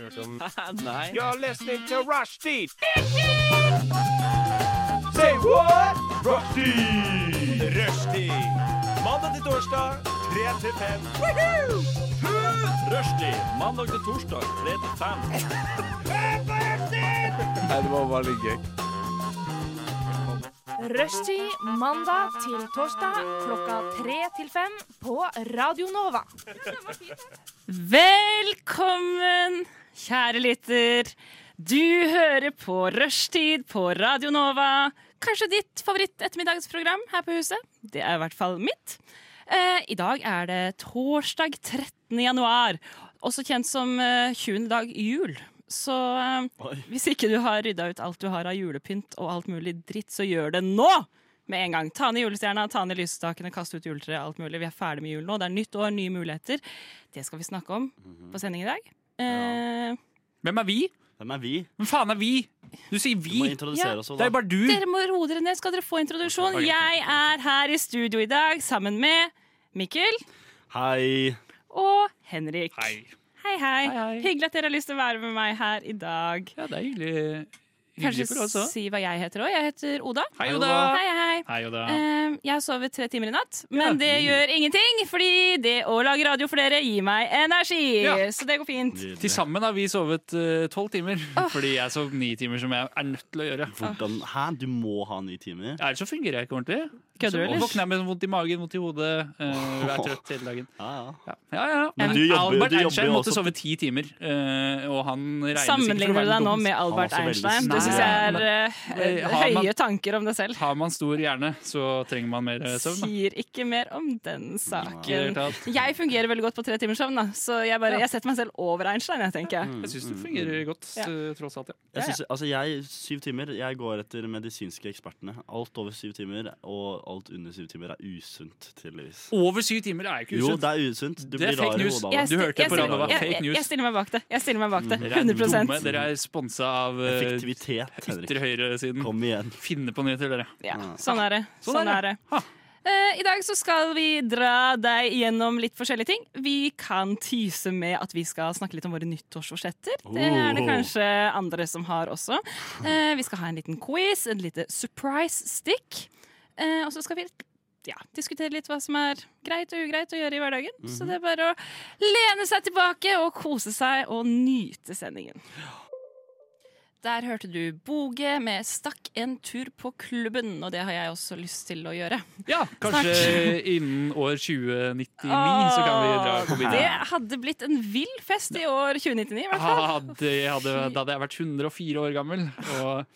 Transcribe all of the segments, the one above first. hørt om Nei. You're listening to Rushdie. Say what? Rushdie. Rushdie. Mandag til torsdag, 3 til 5. Rushdie mandag til torsdag 3 til 5. Nei, det var bare litt gøy. Rushtid mandag til torsdag klokka tre til fem på Radio Nova. Velkommen, kjære lytter. Du hører på Rushtid på Radio Nova. Kanskje ditt favoritt-ettermiddagsprogram her på huset. Det er i hvert fall mitt. Eh, I dag er det torsdag 13. januar, også kjent som eh, 20. dag jul. Så eh, hvis ikke du har rydda ut alt du har av julepynt og alt mulig dritt, så gjør det nå! med en gang. Ta ned julestjerna, ta ned lysestakene, kast ut juletreet, alt mulig. Vi er ferdig med jul nå. Det er nytt år, nye muligheter. Det skal vi snakke om Mhm. på sending i dag. Eh, Hvem er vi? Hvem er vi? Hvem faen er vi? Du sier Du må vi. introdusere Ja. oss. også, Det Da. er jo bare du. dere må roe dere ned, skal dere få introduksjon. Jeg er her i studio i dag sammen med Mikkel Hei. og Henrik. Hei, hei. Hei, hei. Hyggelig at dere har lyst til å være med meg her i dag. Ja, det er hyggelig. Hyggelig for oss Kanskje også. si hva jeg heter òg. Jeg heter Oda. Hei, Oda. Hei, hei. Hei, Oda. Eh, jeg har sovet tre timer i natt, men Ja. Mm. det gjør ingenting, fordi det å lage radio for dere gir meg energi. Ja. Så det går fint. Til sammen har vi sovet eh, tolv timer, fordi jeg sov ni timer, som jeg er nødt til å gjøre. Hvordan? Hæ, du må ha ni timer? Ellers så fungerer jeg ikke ordentlig. Kødder du, Så eller? våkner jeg med vondt i magen, vondt i hodet, eh, er trøtt hele dagen. Ja, ja. Ja, ja. ja. Men du jobber- Albert du jobber Einstein jo måtte også- sove ti timer, eh, og han regnes ikke for å være Sammenligner du den deg nå dummeste. med Albert Han var også veldig Einstein? Det snill. syns jeg er Nei, eh, har man- høye tanker om deg selv. Har man stor hjerne, så trenger man mer eh, søvn. da. Sier ikke mer om den Ikke i det saken. hele tatt. Jeg fungerer veldig godt på tre timers søvn, da, så jeg, bare, jeg setter meg selv over Einstein. Jeg tenker. Jeg syns det fungerer godt, Ja. eh, tross alt. ja. Jeg synes, altså jeg, syv timer, jeg går etter medisinske ekspertene. Alt over syv timer og alt under syv timer er usunt, tydeligvis. Over syv timer er jo ikke Jo, usunt. det er usunt. Du Det blir er fake rar i news. hodet av det. Jeg, Du sti- hørte jeg på radio, stiller- det var fake jeg, jeg, news. Mm. jeg stiller meg bak det. Jeg stiller meg bak det, Dere er 100 dumme. Dere er sponsa av eh, Effektivitet, ytre Henrik. høyresiden. Kom igjen. Finne på nyheter, dere. Ja, sånn er det. Sånn Sånn er er det. Ha. Eh, I dag så skal vi dra deg gjennom litt forskjellige ting. Vi kan tyse med at vi skal snakke litt om våre nyttårsforsetter. Det er det Oh. kanskje andre som har også. Eh, Vi skal ha en liten quiz, en lite surprise stick. Eh, Og så skal vi ja, diskutere litt hva som er greit og ugreit å gjøre i hverdagen. Så det er bare å lene seg tilbake og kose seg og nyte sendingen. Der hørte du Boge med 'Stakk en tur på klubben', og det har jeg også lyst til å gjøre. Ja, kanskje innen år 2099 så kan vi dra Åh, Det på bildet. hadde blitt en vill fest i år 2099, i hvert fall. Hadde, jeg hadde, da hadde jeg vært 104 år gammel og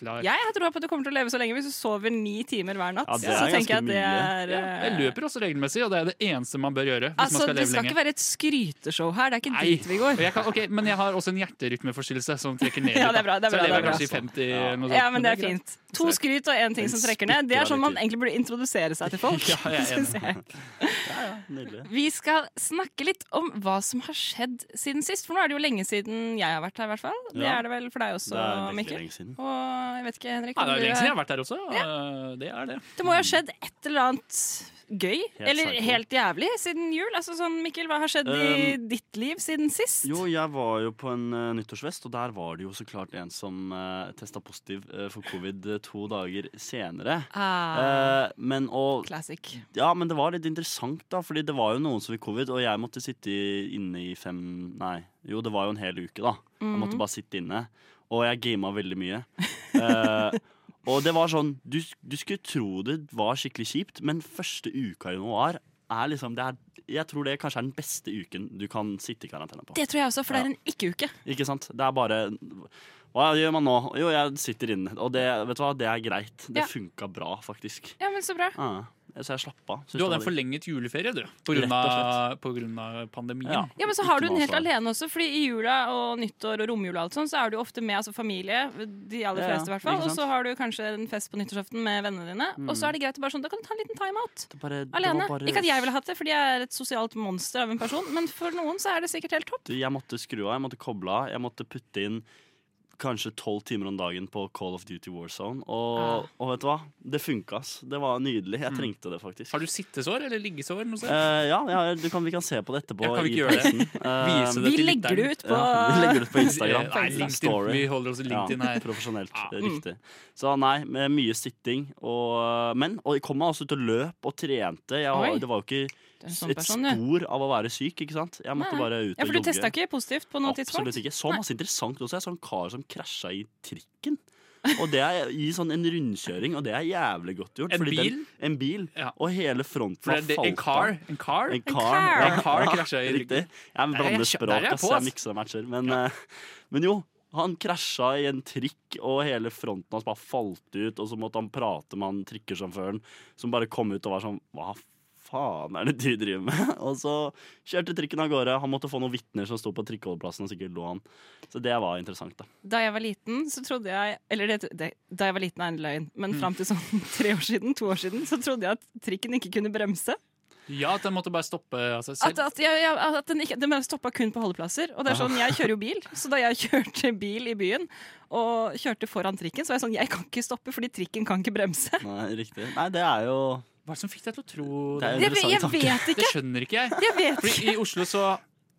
klar. Jeg har troa på at du kommer til å leve så lenge hvis du sover ni timer hver natt. Ja, det så er tenker ganske jeg at det mye. er Ja, jeg eh, løper også regelmessig, og det er det eneste man bør gjøre. Hvis Altså, man skal Det leve skal lenge. ikke være et skryteshow her. Det er ikke Nei. dit vi går. Og jeg kan, ok, men jeg har også en hjerterytmeforstyrrelse som trekker ned. Ja, litt, det er bra, da. det er bra, så jeg det er lever bra. kanskje i 50 eller noe sånt. Ja, men det er greit. fint. To skryt og én ting som trekker ned. Det er sånn man egentlig burde introdusere seg til folk. Ja, jeg er synes enig. jeg. Nydelig. Vi skal snakke litt om hva som har skjedd siden sist. For nå er det jo lenge siden jeg har vært her, i hvert fall. Det Ja. er det vel for deg Det også, er virkelig Mikkel. lenge siden. Og jeg vet ikke, Henrik. Ja, om det er du lenge er- siden jeg har vært her også. eh, Det er det. Det må jo ha skjedd et eller annet gøy, eller psycho. helt jævlig, siden jul. Altså sånn, Mikkel, Hva har skjedd i ditt liv siden sist? Um, Jo, jeg var jo på en eh, nyttårsfest, og der var det jo så klart en som uh, testa positiv eh, for covid eh, to dager senere. Ah, Eh, men, og, classic. ja, men det var litt interessant, da, fordi det var jo noen som fikk covid, og jeg måtte sitte i- inne i fem Nei, jo, det var jo en hel uke, da. Jeg Mhm. måtte bare sitte inne. Og jeg gama veldig mye. Eh, og det var sånn du, du skulle tro det var skikkelig kjipt, men første uka i januar er liksom det er, Jeg tror det kanskje er den beste uken du kan sitte i karantene på. Det tror jeg også, for det er en ikke-uke. Ikke sant? Det er bare Hva gjør man nå? Jo, jeg sitter inne. Og det, vet du hva, det er greit. Det Ja. funka bra, faktisk. Ja, men så bra. Ja. Så jeg slapp av. Synes Du hadde det en var digg. forlenget juleferie, du. På Rett og grunn av, på grunn av pandemien. Ja. Ja, men så har Ikke du den noe helt ansvar. alene også, fordi i jula og nyttår og romjula og alt sånt, så er du jo ofte med altså familie, de aller Ja, ja, fleste i hvert fall, ikke og sant? Mm. så har du kanskje en fest på nyttårsaften med vennene dine, og så er det greit å bare sånn, da kan du ta en liten time-out. Det bare- det var Alene. bare- Ikke at jeg ville hatt det, fordi jeg er et sosialt monster av en person, men for noen så er det sikkert helt topp. Du, Jeg måtte skru av, jeg måtte koble av, jeg måtte putte inn kanskje tolv timer om dagen på Call of Duty Warzone. Ah. Og, og vet du hva? Det funka, ass. Det var nydelig. Jeg trengte det faktisk. Mm. Har du sittesår eller liggesår? Noe sånt? Eh, ja, ja du kan, vi kan se på det etterpå. Ja, kan vi i ikke gjøre det? pausen. Eh, Vise det Vi til legger det lytteren. ut på ja, vi legger det ut på Instagram. Eh, Nei, LinkedIn. Story. Vi holder oss i LinkedIn ja, her. Profesjonelt. Ja. det Mm. er Riktig. Så nei, med mye sitting. Og, men og jeg kom meg altså ut og løp og trente. Jeg, var- Oi. det var jo ikke Du er en sånn et person, du. spor av å være syk, ikke sant? Jeg måtte Nei. bare ut og Ja, for du jogge. testa ikke positivt på noe tidspunkt? Absolutt ikke. Så masse interessant også. Jeg så en kar som krasja i trikken. Og det er i sånn en rundkjøring, og det er jævlig godt gjort. En fordi bil? Den, en bil. Ja. Og hele fronten For det, er det, en car? En car? En car. car. Ja, En car ja, krasja i Riktig. Jeg Der er blander jeg- der er språk, jeg ass. på, Jeg ass. mikser og matcher. Men, eh, men jo, han krasja i en trikk, og hele fronten hans bare falt ut. Og så måtte han prate med han trikkesjåføren, som bare kom ut og var sånn Hva faen er det du driver med? Og så kjørte trikken av gårde. Han måtte få noen vitner som sto på trikkeholdeplassen, og sikkert lo han. Så det var interessant, da. Da jeg var liten, så trodde jeg Eller det, det, da jeg var liten er en løgn, men Mm. fram til sånn tre år siden, to år siden, så trodde jeg at trikken ikke kunne bremse. Ja, at den måtte bare stoppe av seg At, selv. Ah. at, jeg, jeg, at den, ikke, den stoppa kun på holdeplasser. Og det er sånn, jeg kjører jo bil, så da jeg kjørte bil i byen og kjørte foran trikken, så var jeg sånn Jeg kan ikke stoppe, fordi trikken kan ikke bremse. Nei, riktig. Nei, det er jo Hva er det som fikk deg til å tro Det er det? jo Jeg, jeg interessant. tanke. vet Det ikke! skjønner ikke jeg. Jeg vet ikke. Fordi I Oslo så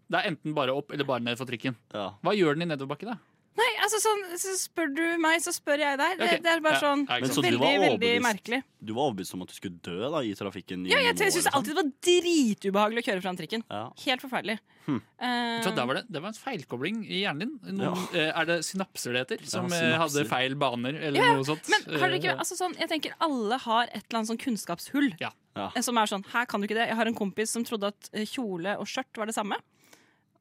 det er enten bare opp eller bare ned for trikken. Ja. Hva gjør den i nedoverbakke, da? Nei, altså sånn, så spør du meg, så spør jeg deg. Det, Ok. det er bare Ja, sånn ja, ikke Men sant. så du veldig, var veldig overbevist? merkelig. Du var overbevist om at du skulle dø da, i trafikken? Ja, jeg, jeg syns alltid det var dritubehagelig å kjøre foran trikken. ja. Helt forferdelig. Hm. Eh, Vet du Um. hva, der var det, det var en feilkobling i hjernen din. Noen, eh, Er det synapser det heter? Som eh, synapser. hadde feil baner eller noe sånt? Men har dere ikke, Eh, altså sånn, jeg tenker alle har et eller annet sånn kunnskapshull. Ja. Ja. Eh, Som er sånn, her kan du ikke det. Jeg har en kompis som trodde at eh, kjole og skjørt var det samme.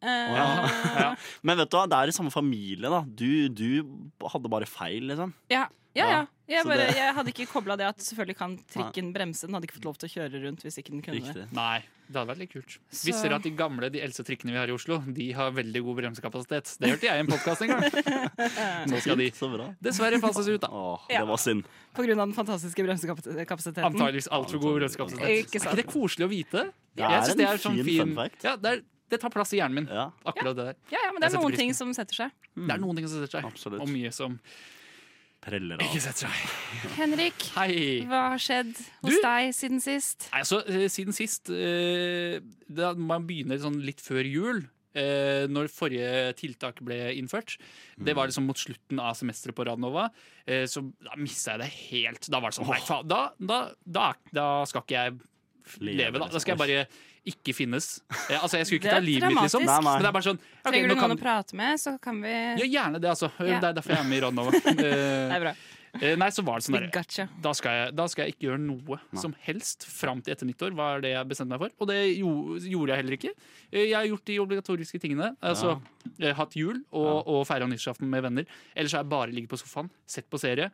Eh, Ja. Men vet du hva, det er i samme familie, da. Du, du hadde bare feil, liksom. ja, ja, ja. Ja, Jeg, så bare, det- jeg hadde ikke kobla det at selvfølgelig kan trikken bremse. Den hadde ikke fått lov til å kjøre rundt hvis ikke den kunne det. Riktig. Nei, det hadde vært litt kult. Så- Visste dere at de gamle, de eldste trikkene vi har i Oslo, de har veldig god bremsekapasitet? Det hørte jeg i en podkast en gang. Nå skal de Så bra. dessverre fases ut, da. Åh, Ja. det var synd. På grunn av den fantastiske bremsekapasiteten. Antakeligvis altfor god bremsekapasitet. Ikke sant. Er ikke det koselig å vite? Det er Jeg synes en sånn fin fun fact. Ja, det, er, det tar plass i hjernen min, Ja. Mm. akkurat det der. Ja, ja, men det er Jeg setter noen pris ting på. som setter seg. Det er noen ting som setter seg, Absolutt. og mye som Preller ikke av. setter seg. Henrik, Hei! hva har skjedd hos Du? deg siden sist? Nei, altså, eh, siden sist eh, da Man begynner sånn litt før jul. Eh, når forrige tiltak ble innført. Det var liksom mot slutten av semesteret på Radnova. Eh, så da mista jeg det helt. Da var det sånn Nei, faen. Da, da, da, da skal ikke jeg Leve, liksom. leve, da. Da skal jeg bare ikke finnes. Eh, altså, jeg skulle Det ikke er ta livet mitt, liksom. dramatisk. Nei, nei. Men det er bare sånn ok, Trenger nå du noen kan- å prate med, så kan vi Ja, gjerne det, altså. Ja. Det er derfor jeg er med i Radnova. Det Eh, er bra. eh, nei, så var det sånn Vi derre gotcha. da skal, jeg, da skal jeg ikke gjøre noe som helst fram til etter nyttår. var det jeg bestemte meg for. Og det jo, gjorde jeg heller ikke. Eh, Jeg har gjort de obligatoriske tingene. Altså eh, hatt jul og, og feira nyttårsaften med venner. Ellers har jeg bare ligget på sofaen, sett på serie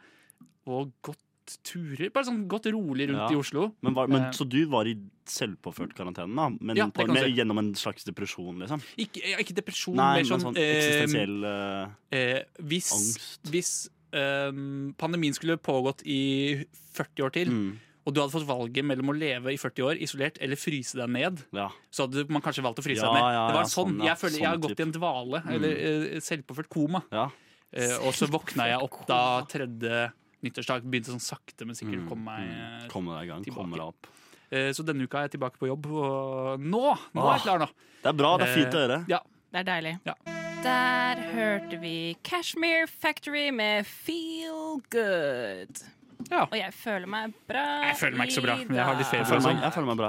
og gått turer. Bare sånn gått rolig rundt Ja. i Oslo. Men var, Eh. men, så du var i selvpåført karantene, da? Men Ja, det på, kan du med, si. gjennom en slags depresjon, liksom? Ikke, ja, ikke depresjon, Nei, men mer sånn, sånn eh, eksistensiell eh, eh, hvis, angst. Hvis eh, pandemien skulle pågått i 40 år til, mm, og du hadde fått valget mellom å leve i 40 år isolert eller fryse deg ned Ja. så hadde man kanskje valgt å fryse Ja, seg ned. ja, det ja, var sånn, sånn, ja, Jeg føler jeg har sånn Mm. gått i en dvale, eller eh, selvpåført koma. ja. Eh, og så våkna jeg opp da tredje nyttårsdag. Begynte sånn sakte, men Mm, sikkert å komme meg eh, Komme deg i gang. tilbake. Komme deg opp. eh, Så denne uka er jeg tilbake på jobb, og nå, nå er jeg klar, nå. Det er bra. Det er fint å høre. Eh, Ja. Det er deilig. Ja. Der hørte vi Cashmere Factory med Feel Good. ja. Og jeg føler meg bra. Jeg føler meg ikke så bra, i men jeg har litt dag. Jeg feber. føler meg, jeg føler meg bra.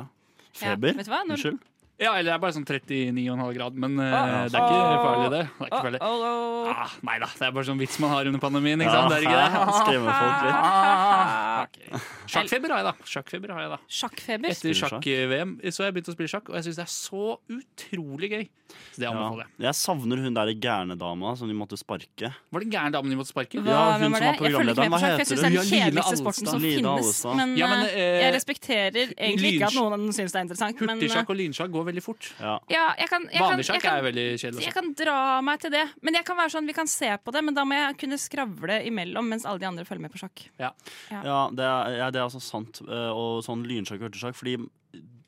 Ja, Feber? vet du hva? Når- Unnskyld? ja, eller det er bare sånn 39,5 grad, men eh, Ah, det er ikke ah, farlig, det. det, er ikke farlig. Å, å, å. Ah, nei da, det er bare sånn vits man har under pandemien, ikke Ja, sant? Det er ikke det? Skremmer folk litt. Ah, ok. Sjakkfeber har jeg, da. Sjakkfeber har jeg da. Sjakkfeber. Etter Spiller sjakk. sjakk-VM så har jeg begynt å spille sjakk, og jeg syns det er så utrolig gøy. Så det Ja. anbefaler jeg. Jeg savner hun der gærne dama som de måtte sparke. Var det en gæren dame du måtte sparke? Hva, Ja, hun hvem var som var det? Jeg følger ikke med programlederen. på sjakk, for jeg syns det er Hva den heter hun? kjedeligste Line sporten som Alstad. Line finnes. Alstad. Men, Ja, men, eh, eh, jeg respekterer egentlig ikke at lynsj- noen syns det er interessant. Men eh, Hurtigsjakk og lynsjakk går veldig fort. Ja. ja, jeg kan, jeg kan, Vanlig jeg sjakk er kan, veldig kjedelig. jeg Også. kan dra meg til det. Men jeg kan være sånn, vi kan se på det, men da må jeg kunne skravle imellom mens alle de andre følger med på sjakk. Ja. Ja, det er, ja, det er altså sant. eh, Og sånn lynsjakk og hurtigsjakk. Fordi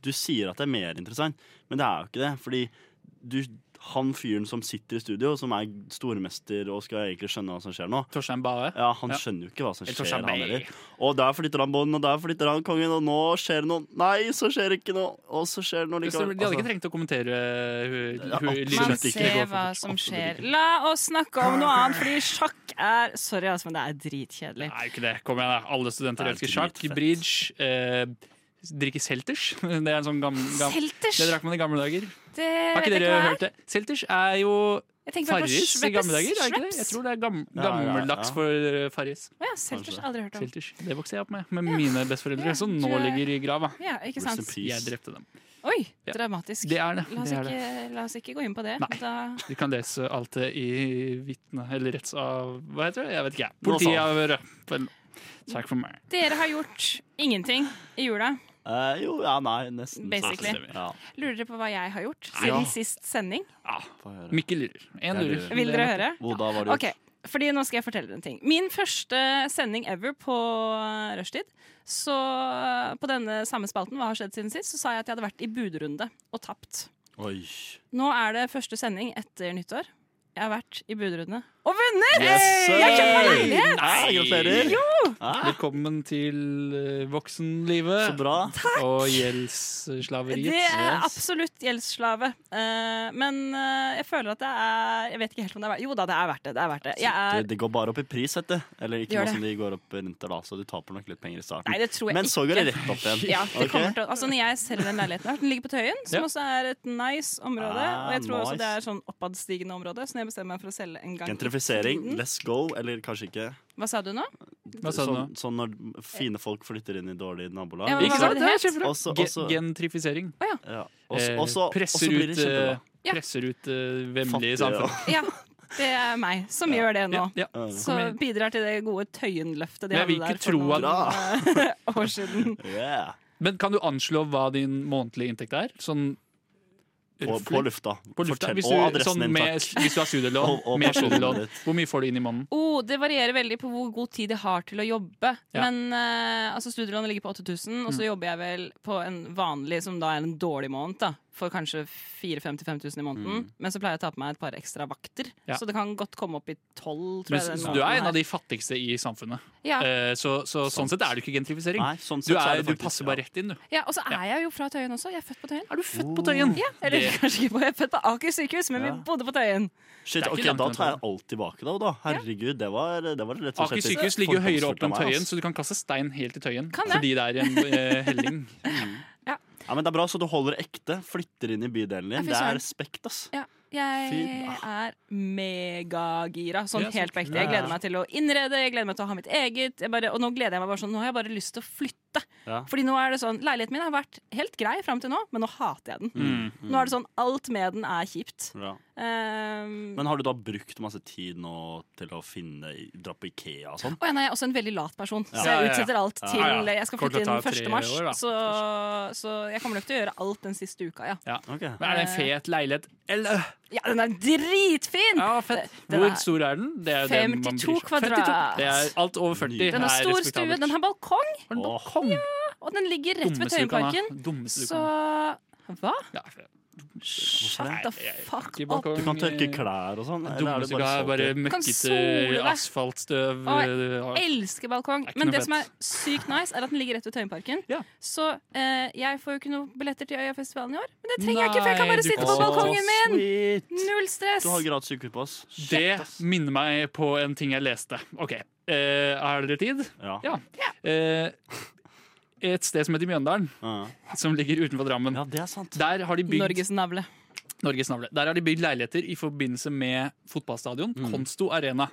du sier at det er mer interessant, men det er jo ikke det. Fordi du han fyren som sitter i studio, som er stormester og skal egentlig skjønne hva som skjer nå, Torstein Bae. ja, han Ja. skjønner jo ikke hva som Eller skjer, han Torstein Bay. heller. Og der flytter han bånd, og der flytter han kongen, og nå skjer det noe. Nei, så skjer det ikke noe. Og så skjer det noe Det stemmer, likevel. De hadde Altså, ikke trengt å kommentere eh, hu- Ja, hu- absolutt lyden. Man Absolutt ikke. ser hva som skjer. La oss snakke om noe annet, fordi sjakk er Sorry, altså, men det er dritkjedelig. Nei, ikke det. Kom igjen, da. Alle studenter Det er elsker sjakk. dritfett. Bridge. Eh, drikke Selters. Det er en sånn gammel, gammel Selters! Det drakk man i gamle dager. Det Har vet ikke jeg dere hva er. hørt det? Selters er jo Jeg tenker bare på Farris i gamle dager, er ikke det? Schweppes. Jeg tror det er gam Ja, ja, ja. gammeldags for eh, Farris. Å ja, Selters. Kanskje. Aldri hørt om. Selters. Det vokste jeg opp med med mine Ja, besteforeldre, som nå du- ligger i grava. Ja, ikke Rest in sant? peace. Jeg drepte dem. Oi, Ja. dramatisk. Det er det. La oss, det, er det. ikke, la oss ikke gå inn på det. Nei. Da, Du kan lese alt det i vitne... Eller retts... Hva heter det? Jeg vet ikke. jeg. Nå sa Politiavhør. Vel, Takk for meg. dere har gjort ingenting i jula. eh, jo, ja, nei, nesten. Basically. Så, ja, Lurer dere på hva jeg har gjort Nei, ja. siden sist sending? få høre. Mikkel lurer. En Jeg lurer. lurer. Vil Det er dere nok- høre? Hvordan var det Ok, fordi nå skal jeg fortelle dere en ting. Min første sending ever på eh, Rushtid. Så eh, på denne samme spalten, hva har skjedd siden sist, så sa jeg at jeg hadde vært i budrunde og tapt. Oi. Nå er det første sending etter nyttår. Jeg har vært i budrunde og vunnet! Yes, Jeg kjøpte meg hey! leilighet! Nei, gratulerer. Ah, Velkommen til eh, så voksenlivet bra. og gjeldsslaveriet. Det er Yes. absolutt gjeldsslave. Eh, men eh, jeg føler at det er Jeg vet ikke helt om det er verdt Jo da, det er verdt det. Det er verdt det. Jeg Det, er, det går bare opp i pris, vet du. Eller ikke Gjør noe det. som de går opp renter, da, så du taper nok litt penger i starten. nei, det tror jeg Men ikke. så går det rett opp igjen. Ja, det Ok? kommer til å Altså Når jeg selger den leiligheten her, den ligger på Tøyen, som Ja. også er et nice område. Ah, Og jeg tror også nice. det er sånn oppadstigende område, så når jeg bestemmer meg for å selge en gang i Gentrifisering, tiden- let's go. Eller kanskje ikke. Hva sa du nå? Hva sa du nå? sånn, sånn når fine folk flytter inn i dårlige nabolag. Ja, men Ikke hva var sant? det Det det er het? kjempebra. Også- Ge- også- Gentrifisering. Ja. Også, Eh, også, presser også blir ut, det kjempebra. eh, Ja. Presser ut eh, Fattige, vemmelige samfunn. Ja, det er meg som gjør det nå. Ja, ja. ja. Så bidrar til det gode Tøyen-løftet de Men jeg vil hadde der ikke for tro at- noen eh, år siden. Yeah. Men kan du anslå hva din månedlige inntekt er? Sånn På, på lufta. På lufta. Fortell- Hvis og du, adressen sånn din, med, takk. hvis du har studielån, Og- og med personen studielån, ditt. hvor mye får du inn i måneden? Oh, det varierer veldig på hvor god tid jeg har til å jobbe. Ja. Mm. Men eh, altså Studielånet ligger på 8000, og så jobber jeg vel på en vanlig, som da er en dårlig måned, da, for kanskje 4000-5000 i måneden. Men så pleier jeg å ta på meg et par ekstra vakter, Mm. Ja. så det kan godt komme opp i 12 tror Men, jeg, den så måneden du er en her. av de fattigste i samfunnet. Ja, Eh, Så, så sånn sett er det ikke gentrifisering. Nei, sånn Du, sett så er, det du faktisk- passer bare rett inn, du. ja Og så er jeg jo fra Tøyen også. Jeg er født på Tøyen. Er du født på Tøyen? Ja, eller Det- kanskje ikke på, jeg er født på Aker sykehus, men vi Ja. bodde på Tøyen. ja. Shit, Det er ikke ok, langt Da unna. tar jeg alt tilbake, da. da. Herregud, det var, det var rett og slett Aker sykehus ligger jo høyere opp enn Tøyen, så du kan kaste stein helt i Tøyen. Kan det. Fordi det er en eh, helling. Ja, men det er bra, så du holder det ekte. Flytter inn i bydelen Ja, din. fy Det søren. er respekt, ass. Ja, jeg Fy- er megagira. Sånn Ah. Ja, så helt på ekte. Jeg kult. gleder meg til å innrede, jeg gleder meg til å ha mitt eget. Jeg bare, og nå gleder jeg meg bare sånn, nå har jeg bare lyst til å flytte. Ja. Fordi nå er det sånn, leiligheten min har vært helt grei fram til nå, men nå hater jeg den. Mm. Mm-hmm. Mm. Nå er det sånn, alt med den er kjipt. Bra. Ehm, Men har du da brukt masse tid nå til å finne Dra på Ikea og sånn? og ja, nei, jeg er også en veldig lat person, så Ja, ja, jeg ja. utsetter alt Ja, til ja. jeg skal Kommer flytte til å inn ta 1. tre mars. år, da. så, så jeg kommer nok til å gjøre alt den siste uka, ja. Ok. Men er det Eh. en fet leilighet? Eller Ja, den er dritfin! Ja, fett. Den Hvor er- stor er den? Det er jo det man bryr seg 52 om. kvadrat. Det er alt over 40. Den Den har er stor stue, respektabelt. den har balkong, Har den Åh. balkong? og den ligger rett ved Dummeste du kan ha. Tøyenparken. Dummeste du Så kan ha. hva? Ja, for- Shut the Nei, jeg- fuck ikke up! balkong, Du kan tørke eh, klær og sånn? eller er det Dummeste du kan ha. så Bare til? kan møkkete sole deg. asfaltstøv. Å, eh, Elsker balkong. Det er ikke Men noe det som er fett. sykt nice, er at den ligger rett ved Tøyenparken. Ja. Så eh, jeg får jo ikke noen billetter til Øyafestivalen i år. Men det trenger jeg ikke, for jeg kan Nei, bare du sitte kan på sitte på balkongen min! Sweet. Null stress! Du har gratis ukepass. Det minner meg på en ting jeg leste. Ok, eh, Har dere tid? Ja. Ja. Eh, et sted som heter Mjøndalen, Ja. som ligger utenfor Drammen. ja, det er sant. Der har de bygd Norges navle. Norges navle. Der har de bygd leiligheter i forbindelse med fotballstadion, Konsto Arena.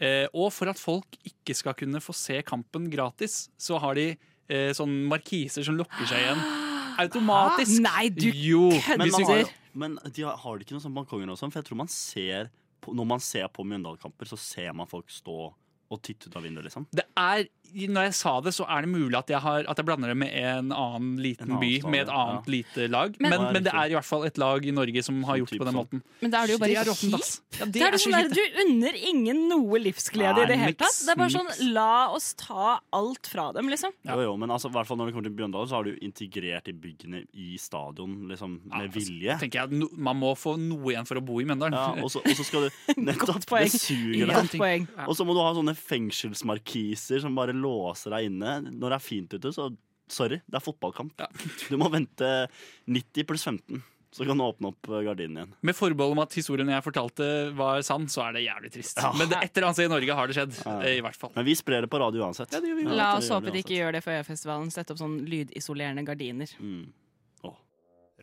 Eh, og for at folk ikke skal kunne få se kampen gratis, så har de eh, sånn markiser som lukker seg igjen automatisk. Hæ? Ah, Nei, du jo, Men, hvis man du- har, jo- men de har, har de ikke noen sånne balkonger og sånn? For jeg tror man ser på, Når man ser på Mjøndalen-kamper, så ser man folk stå og titte ut av vinduet, liksom. Det er når jeg sa det, så er det mulig at jeg, har, at jeg blander det med en annen liten En annen by stad, med et ja. annet lite lag. Men- Men, men, det er i hvert fall et lag i Norge som har Sånn gjort det på den type måten. Men da er det jo bare råttent, kjipt. ass. Ja, det Det er er det så sånn der, lite. du unner ingen noe livsglede Nei, i det hele niks, tatt. Det er bare sånn, niks. la oss ta alt fra dem, liksom. Jo, jo, men altså, i hvert fall når det kommer til Bjørndalen, så har du jo integrert de byggene i stadion liksom, med altså, vilje. tenker jeg at no, Man må få noe igjen for å bo i Mjøndalen. Ja, og så og så skal du Godt Nettopp! poeng. Det suger deg. Godt ting. poeng. Og så må du ha sånne fengselsmarkiser som bare låser deg inne. Når det er fint ute, så sorry, det er fotballkamp. Ja. Du må vente 90 pluss 15, så kan du åpne opp eh, gardinen igjen. Med forbehold om at historien jeg fortalte var sann, så er det jævlig trist. Ja. Men det et eller annet sted i Norge har det skjedd. Ja. eh, I hvert fall. Men vi sprer det på radio uansett. Ja, det gjør vi. La det oss gjør vi håpe de ikke uansett. gjør det for Øyafestivalen. Sett opp sånn lydisolerende gardiner. Mm.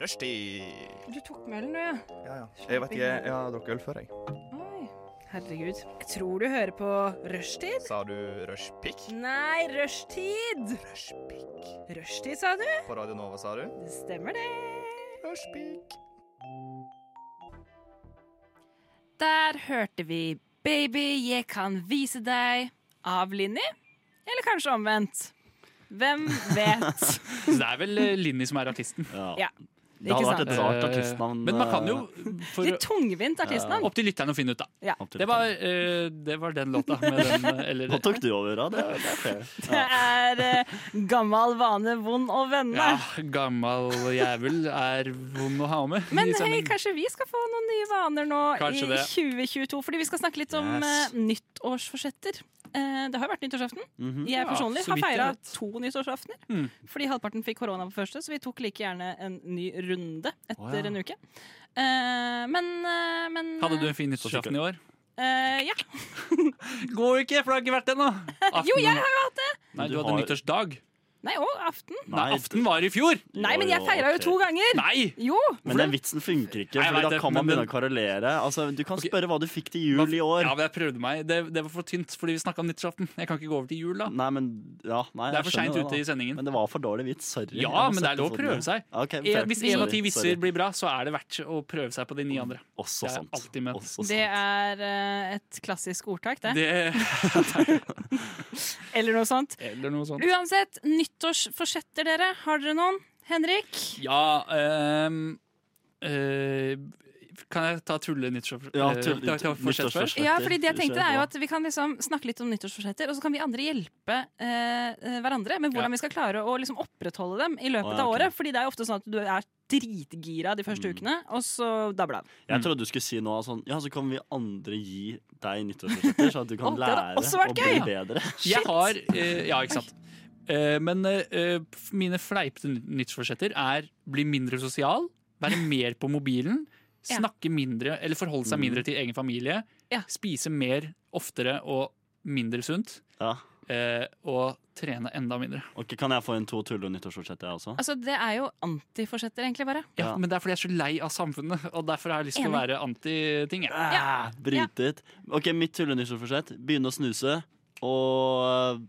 Rushtid. Du tok med ølen, du, ja. Ja, ja. Jeg vet ikke, jeg, jeg har drukket øl før, jeg. Oi. Herregud. Jeg tror du hører på rushtid. Sa du rushpick? Nei, rushtid! Rushpick. Rushtid, sa du? På Radio Nova, sa du? Det stemmer, det. Rushpick. Der hørte vi 'Baby, jeg kan vise deg' av Linni. Eller kanskje omvendt. Hvem vet? Så det er vel eh, Linni som er artisten. Ja, Ja. Det ikke hadde vært sant. et rart eh, Eh, artistnavn. Men man kan jo for, Litt tungvint artistnavn. Opp til lytterne å finne ut, da. eh, opp til Det var, eh, det var den låta. Med den, eh, eller, Nå sånn. tok du over, da. Det, det er fair. Det er eh, gammel vane, vond å vende. ja, gammal jævel er vond å ha med. i Men hei, sending. kanskje vi skal få noen nye vaner nå Kanskje i det. 2022. Fordi vi skal snakke litt om Yes. eh, nyttårsforsetter. Eh, det har jo vært nyttårsaften. Jeg Mhm. Ja, personlig så har vidt jeg feira vet. to nyttårsaftener. Mm. Fordi halvparten fikk korona på første, så vi tok like gjerne en ny runde Å, etter ja. en uke. Eh, men, eh, men Hadde du en fin nyttårsaften i år? eh, Ja. Går ikke, for det har ikke vært det ennå! Jo, jeg har jo hatt det! Nei, du Du hadde har- nyttårsdag. Nei, og aften. Nei, aften var i fjor! Nei, men jeg feira jo to ganger! Nei! Jo! Men den vitsen funker ikke, Nei, jeg for vet da det, kan man men- begynne å kverulere. Altså, du kan Ok. spørre hva du fikk til jul i år. Ja, men jeg prøvde meg. Det, det var for tynt, fordi vi snakka om nyttårsaften. Jeg kan ikke gå over til jul, da. Nei, men ja, nei, Det er for jeg skjønner seint ute i det, da. sendingen. Men det var for dårlig vits. Sorry. Ja, Jeg må men det er sette lov å foten prøve ned. seg. Ok, Eh, fair. Hvis én av ti Sorry, visser sorry. blir bra, så er det verdt å prøve seg på de ni andre. Også Det er sant. alltid ment. Også Det sant. er eh, et klassisk ordtak, det. Det, Eller noe sånt. eller noe sånt. Uansett, nyttårsforsetter dere. Har dere noen? Henrik? Ja ehm, eh, Kan jeg ta eh, tulle nyttårsforsett Ja, tull- nyttårsforsett først? nyttårsforsett. Ja, fordi det jeg Forsetter, tenkte er jo ja. at Vi kan liksom snakke litt om nyttårsforsetter, og så kan vi andre hjelpe eh, eh, hverandre med Ja. hvordan vi skal klare å liksom opprettholde dem i løpet Å, ja, av ok. Mm. året. Fordi det er jo ofte sånn at du er dritgira de første ukene, og så dabler det av. Jeg trodde du skulle si noe av sånn Ja, så kan vi andre gi deg nyttårsforsetter, så at du kan Å, det hadde lære også og vært bli gøy. bedre. Jeg har eh, Ja, ikke sant. Eh, men eh, eh, f- mine fleipete ny- nyttårsforsetter er bli mindre sosial, være mer på mobilen, Ja. snakke mindre eller forholde seg Mm. mindre til egen familie, Ja. spise mer oftere og mindre sunt, Ja. eh, og trene enda mindre. Ok, Kan jeg få en to tulle- og nyttårsforsetter, jeg også? Altså, Det er jo antiforsetter, egentlig, bare. Ja, Ja. Men det er fordi jeg er så lei av samfunnet, og derfor har jeg lyst til å Enig. være anti-ting. jeg. Ah, Bryt ut. Ok, mitt tullenysjeforsett. Begynne å snuse og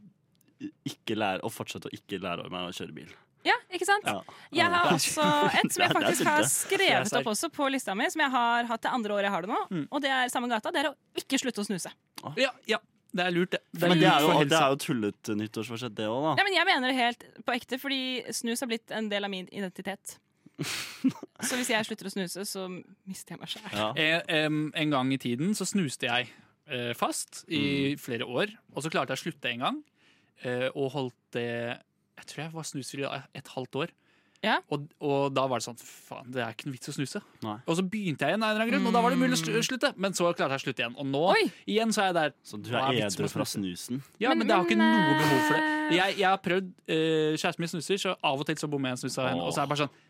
øh, ikke lære, og fortsette å ikke lære meg å kjøre bil. Ja, ikke sant? Ja. Jeg har Ja. også et som jeg Ja, det er faktisk sunt, det. har Jeg skrevet ser. opp også på lista mi, som jeg har hatt det andre året jeg har det nå. Mm. Og det er samme gata. Det er å ikke slutte å snuse. Ja, ja, det er lurt, det. det, Men det lurt er jo, for det helsa. er jo tullete nyttårsforsett, det òg, Ja, da. men jeg mener det helt på ekte, fordi snus har blitt en del av min identitet. Så hvis jeg slutter å snuse, så mister jeg meg sjæl. Ja. Eh, em, en gang i tiden så snuste jeg eh, fast Mm. i flere år, og så klarte jeg å slutte en gang. eh, og holdt det Jeg tror jeg var snusfri i et halvt år. Ja. Og, og da var det sånn Faen, det er ikke noe vits å snuse. Nei. Og så begynte jeg igjen, av en eller annen grunn, og da var det mulig å sl- slutte. Men så klarte jeg å slutte igjen. Og nå Mm. Oi! igjen så er jeg der. Så du Hva er er vitsen edru med å fra snuse? snusen? Ja, men, Men- det har ikke men, noe behov for det. eh, Jeg, jeg har prøvd eh, Kjæresten min snuser, så av og til så bommer jeg en snus av henne. Åh. Og så er jeg bare sånn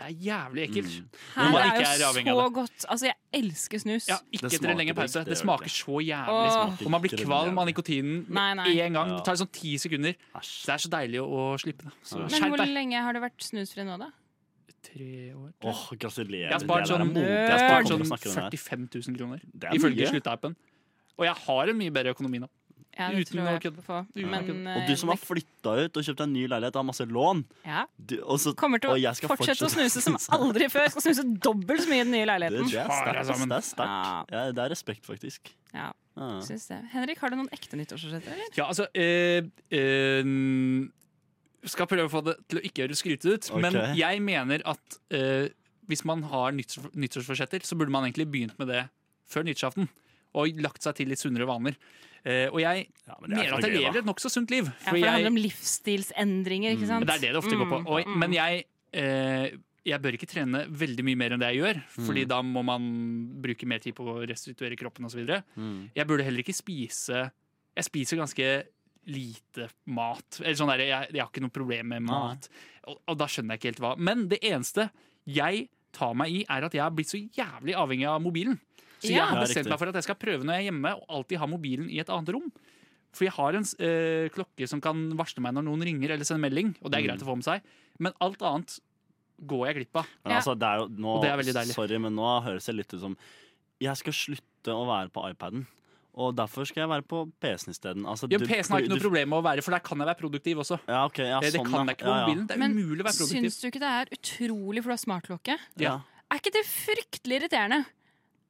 Det er jævlig ekkelt. Mm. Her man det ikke er er jo avhengig av så godt. Altså, jeg elsker snus. Ja, Det ikke etter en smaker lengre digg, pause. det Det gjør smaker det. så Åh. jævlig. smak. Og man blir Grønn kvalm jævlig. av nikotinen Nei, med nei. en gang. Ja. Det tar sånn ti sekunder. Så Æsj. det er så deilig å slipper det. Så Ja. Men skjerp hvor deg. lenge har du vært snusfri nå, da? Tre år. Åh, gratulerer. Jeg har Det der spart er sånn- modig. Jeg Det har er spart sånn sånn 45 000 kroner, Det er ifølge mye. sluttappen. Og jeg har en mye bedre økonomi nå. Ja, det Uten tror å jeg kødde. på. Uten å Men, kødde. Og du som har eh, flytta ut og kjøpt deg en ny leilighet og har masse lån ja. du, og så, Kommer til å og jeg skal fortsette å snuse som aldri før. Skal snuse dobbelt så mye i den Det, nye leiligheten. det er Far, sterkt. sammen. ass. Det er, sterkt. Ja, det er respekt, faktisk. Ja. Ja. Syns det. Henrik, har du noen ekte nyttårsforsetter, eller? Ja, altså eh, eh, Skal prøve å få det til å ikke høres skrytete ut, Ok. men jeg mener at eh, hvis man har nytts- nyttårsforsetter, så burde man egentlig begynt med det før nyttårsaften. Og lagt seg til litt sunnere vaner. Eh, og jeg Ja, men det er mener ikke at noe jeg gøy, lever da. et nokså sunt liv. Ja, for det jeg, Mm. handler om livsstilsendringer, ikke sant? Mm, det er det det ofte går på. Og, men jeg, eh, jeg bør ikke trene veldig mye mer enn det jeg gjør, Mm. Fordi da må man bruke mer tid på å restituere kroppen osv. Mm. Jeg burde heller ikke spise Jeg spiser ganske lite mat. Eller sånn der, jeg, jeg har ikke noe problem med mat. Og, og da skjønner jeg ikke helt hva. Men det eneste jeg tar meg i, er at jeg har blitt så jævlig avhengig av mobilen. Så jeg Ja. har Ja, bestemt riktig. meg for at jeg skal prøve når jeg er hjemme, å alltid ha mobilen i et annet rom. For jeg har en s- eh, klokke som kan varsle meg når noen ringer eller sender melding, og det Mm. er greit å få med seg. Men alt annet går jeg glipp av. Men Ja. altså, det er jo nå, Og det er veldig deilig. Sorry, men nå høres det litt ut som Jeg skal slutte å være på iPaden, og derfor skal jeg være på PC-en isteden. Altså, Ja, du- PC-en har ikke noe du- problem med å være, for der kan jeg være produktiv også. Ja, ok, ja, Eh, det sånn, ja. kan jeg ikke på Ja, ja. mobilen. Det er Men umulig å være produktiv. Syns du ikke det er utrolig, for du har smartklokke? Ja. Er ikke det fryktelig irriterende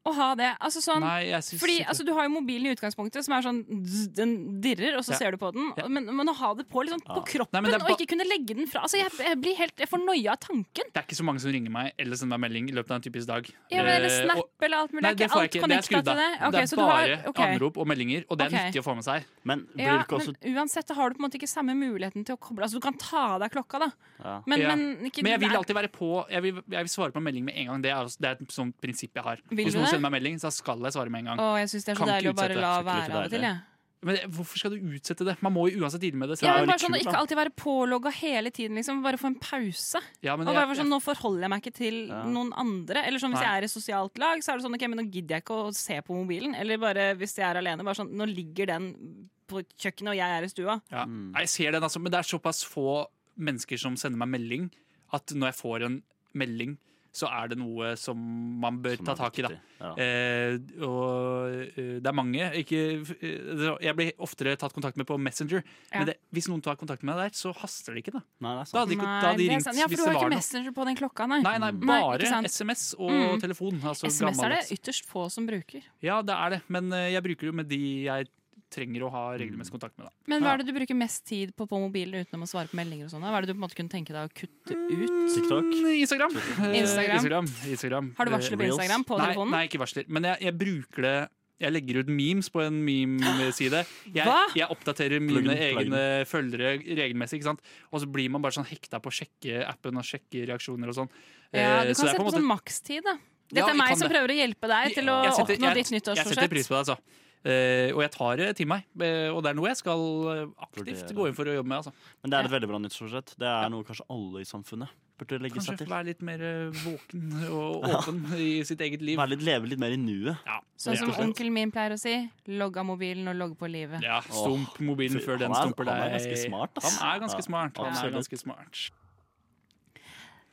å ha det? Altså sånn Nei, jeg synes fordi ikke det. altså, Du har jo mobilen i utgangspunktet, som er sånn zzz, Den dirrer, og så Ja. ser du på den. Ja. Men, men å ha det på, liksom, på Nei, kroppen, men det er og ba- ikke kunne legge den fra altså, jeg, jeg blir helt Jeg får noia av tanken. det er ikke så mange som ringer meg eller sender meg melding i løpet av en typisk dag. Ja, men, eller Eh, snap og- eller alt mulig. Nei, det er det ikke får jeg alt ikke. Det er connecta skrudd til av. det. Ok, det så du er har- bare ok. anrop og meldinger, og det er Ok. nyttig å få med seg. Men blir Ja, det ikke også men uansett så har du på en måte ikke samme muligheten til å koble Altså Du kan ta av deg klokka, da. ja. Men, Ja. men, ikke, Men jeg vil det er- alltid være på Jeg vil, jeg vil svare på en melding med en gang. Det er, altså, det er et sånt prinsipp jeg har. Vil Hvis du noen det? sender meg melding, så skal jeg svare med en gang. Å, jeg syns det er så Kan ikke deilig å bare utsette. la Skikkelig være av og til. deilig. jeg. Men det- hvorfor skal du utsette det? Man må jo uansett deale med det. så Ja, det er men bare jo litt sånn å kult, Ikke da. alltid være på logg og hele tiden. liksom Bare få en pause. Ja, men Og bare jeg, være sånn, Nå forholder jeg meg ikke til Ja. noen andre. Eller sånn Hvis Nei. jeg er i sosialt lag, så er det sånn ok, men nå gidder jeg ikke å se på mobilen. Eller bare hvis jeg er alene. Bare sånn, Nå ligger den på kjøkkenet, og jeg er i stua. ja. Nei, jeg ser den, altså. Men det er såpass få mennesker som sender meg melding, at når jeg får en melding, så er det noe som man bør som ta er tak i, da. viktig. Ja. Eh, og eh, det er mange ikke, eh, det- Jeg blir oftere tatt kontakt med på Messenger. Ja. Men det, hvis noen tar kontakt med deg der, så haster det ikke. Da Nei, det er Da sant. hadde, ikke, Nei, da hadde de det er ringt sant. ja, for du hvis det har var ikke noe. Messenger på den klokka, nei. Nei, Nei, nei, ikke bare sant. SMS og Mm. telefon. Altså SMS er det gammeldags. ytterst få som bruker. Ja, det er det. Men eh, jeg bruker jo med de jeg trenger å ha regelmessig kontakt med. Da. Men hva er det du bruker mest tid på på mobilen utenom å svare på meldinger? og sånn, da? Hva er det du på en måte kunne tenke deg å kutte ut? TikTok. Mm, Instagram. Eh, Instagram. Instagram. Instagram. Har du Eh, varsler på Reels? Instagram på nei, telefonen? nei, ikke varsler. Men jeg, jeg bruker det Jeg legger ut memes på en memeside. Jeg, Hva? jeg oppdaterer mine Plugg den, plugg egne følgere regelmessig, ikke sant? og så blir man bare sånn hekta på å sjekke appen og sjekke reaksjoner og sånn. Ja, Eh, du så kan sette det er på på en sånn måte- makstid, da. Ja, Dette er vi meg kan som det. prøver å hjelpe deg til å Jeg setter- oppnå jeg- ditt Jeg setter nyttårsforsett. pris på det, altså. Eh, og jeg tar det til meg. Eh, og det er noe jeg skal eh, aktivt Vurdere. gå inn for å jobbe med. Altså. Men det er et veldig bra nyttårsforsett. Det er noe kanskje alle i samfunnet burde legge seg Kanskje til. være litt mer eh, våken og åpen i sitt eget liv. Være litt, leve litt mer i nuet. Ja, Sånn som rett og slett. onkelen min pleier å si. Logg av mobilen og logg på livet. Ja, stump mobilen Fy, før den han er- stumper deg. han er ganske smart, ass. Han er ganske Ja, smart. Han er absolutt. ganske smart.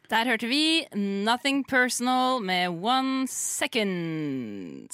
Der hørte vi Nothing Personal med One Second.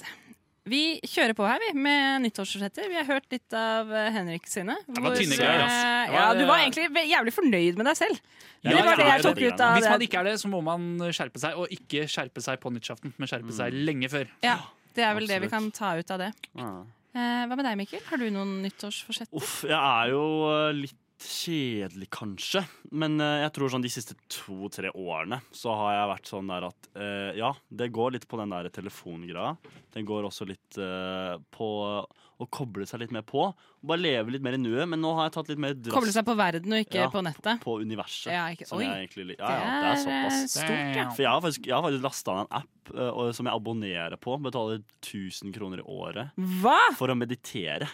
Vi kjører på her, vi, med nyttårsforsetter. Vi har hørt litt av eh, Henrik sine. var hvor- eh, tynne greier, ass. Det Ja, var- eh, du var egentlig ve- jævlig fornøyd med deg selv. Ja, det var jeg det er jeg tok veldig ut glad. av Hvis man det. ikke er det, så må man skjerpe seg, og ikke skjerpe seg på nyttårsaften, men skjerpe Mm. seg lenge før. Ja, det er vel det vi Absolutt. kan ta ut av det. Ja. Eh, Hva med deg, Mikkel? Har du noen nyttårsforsett? Uff, jeg er jo eh, litt kjedelig, kanskje. Men eh, jeg tror sånn de siste to-tre årene så har jeg vært sånn der at eh, Ja, det går litt på den der telefongreia. Den går også litt eh, på å koble seg litt mer på. Og bare leve litt mer i nuet. Men nå har jeg tatt litt mer Koble drass seg på verden og ikke Ja, på nettet? på universet. Ja, ikke- som oi, jeg egentlig liker. Ja, ja, det er eh, såpass. stort, ja. For jeg har faktisk, jeg har faktisk lasta ned en app eh, og- som jeg abonnerer på. Betaler 1000 kroner i året Hva? for å meditere.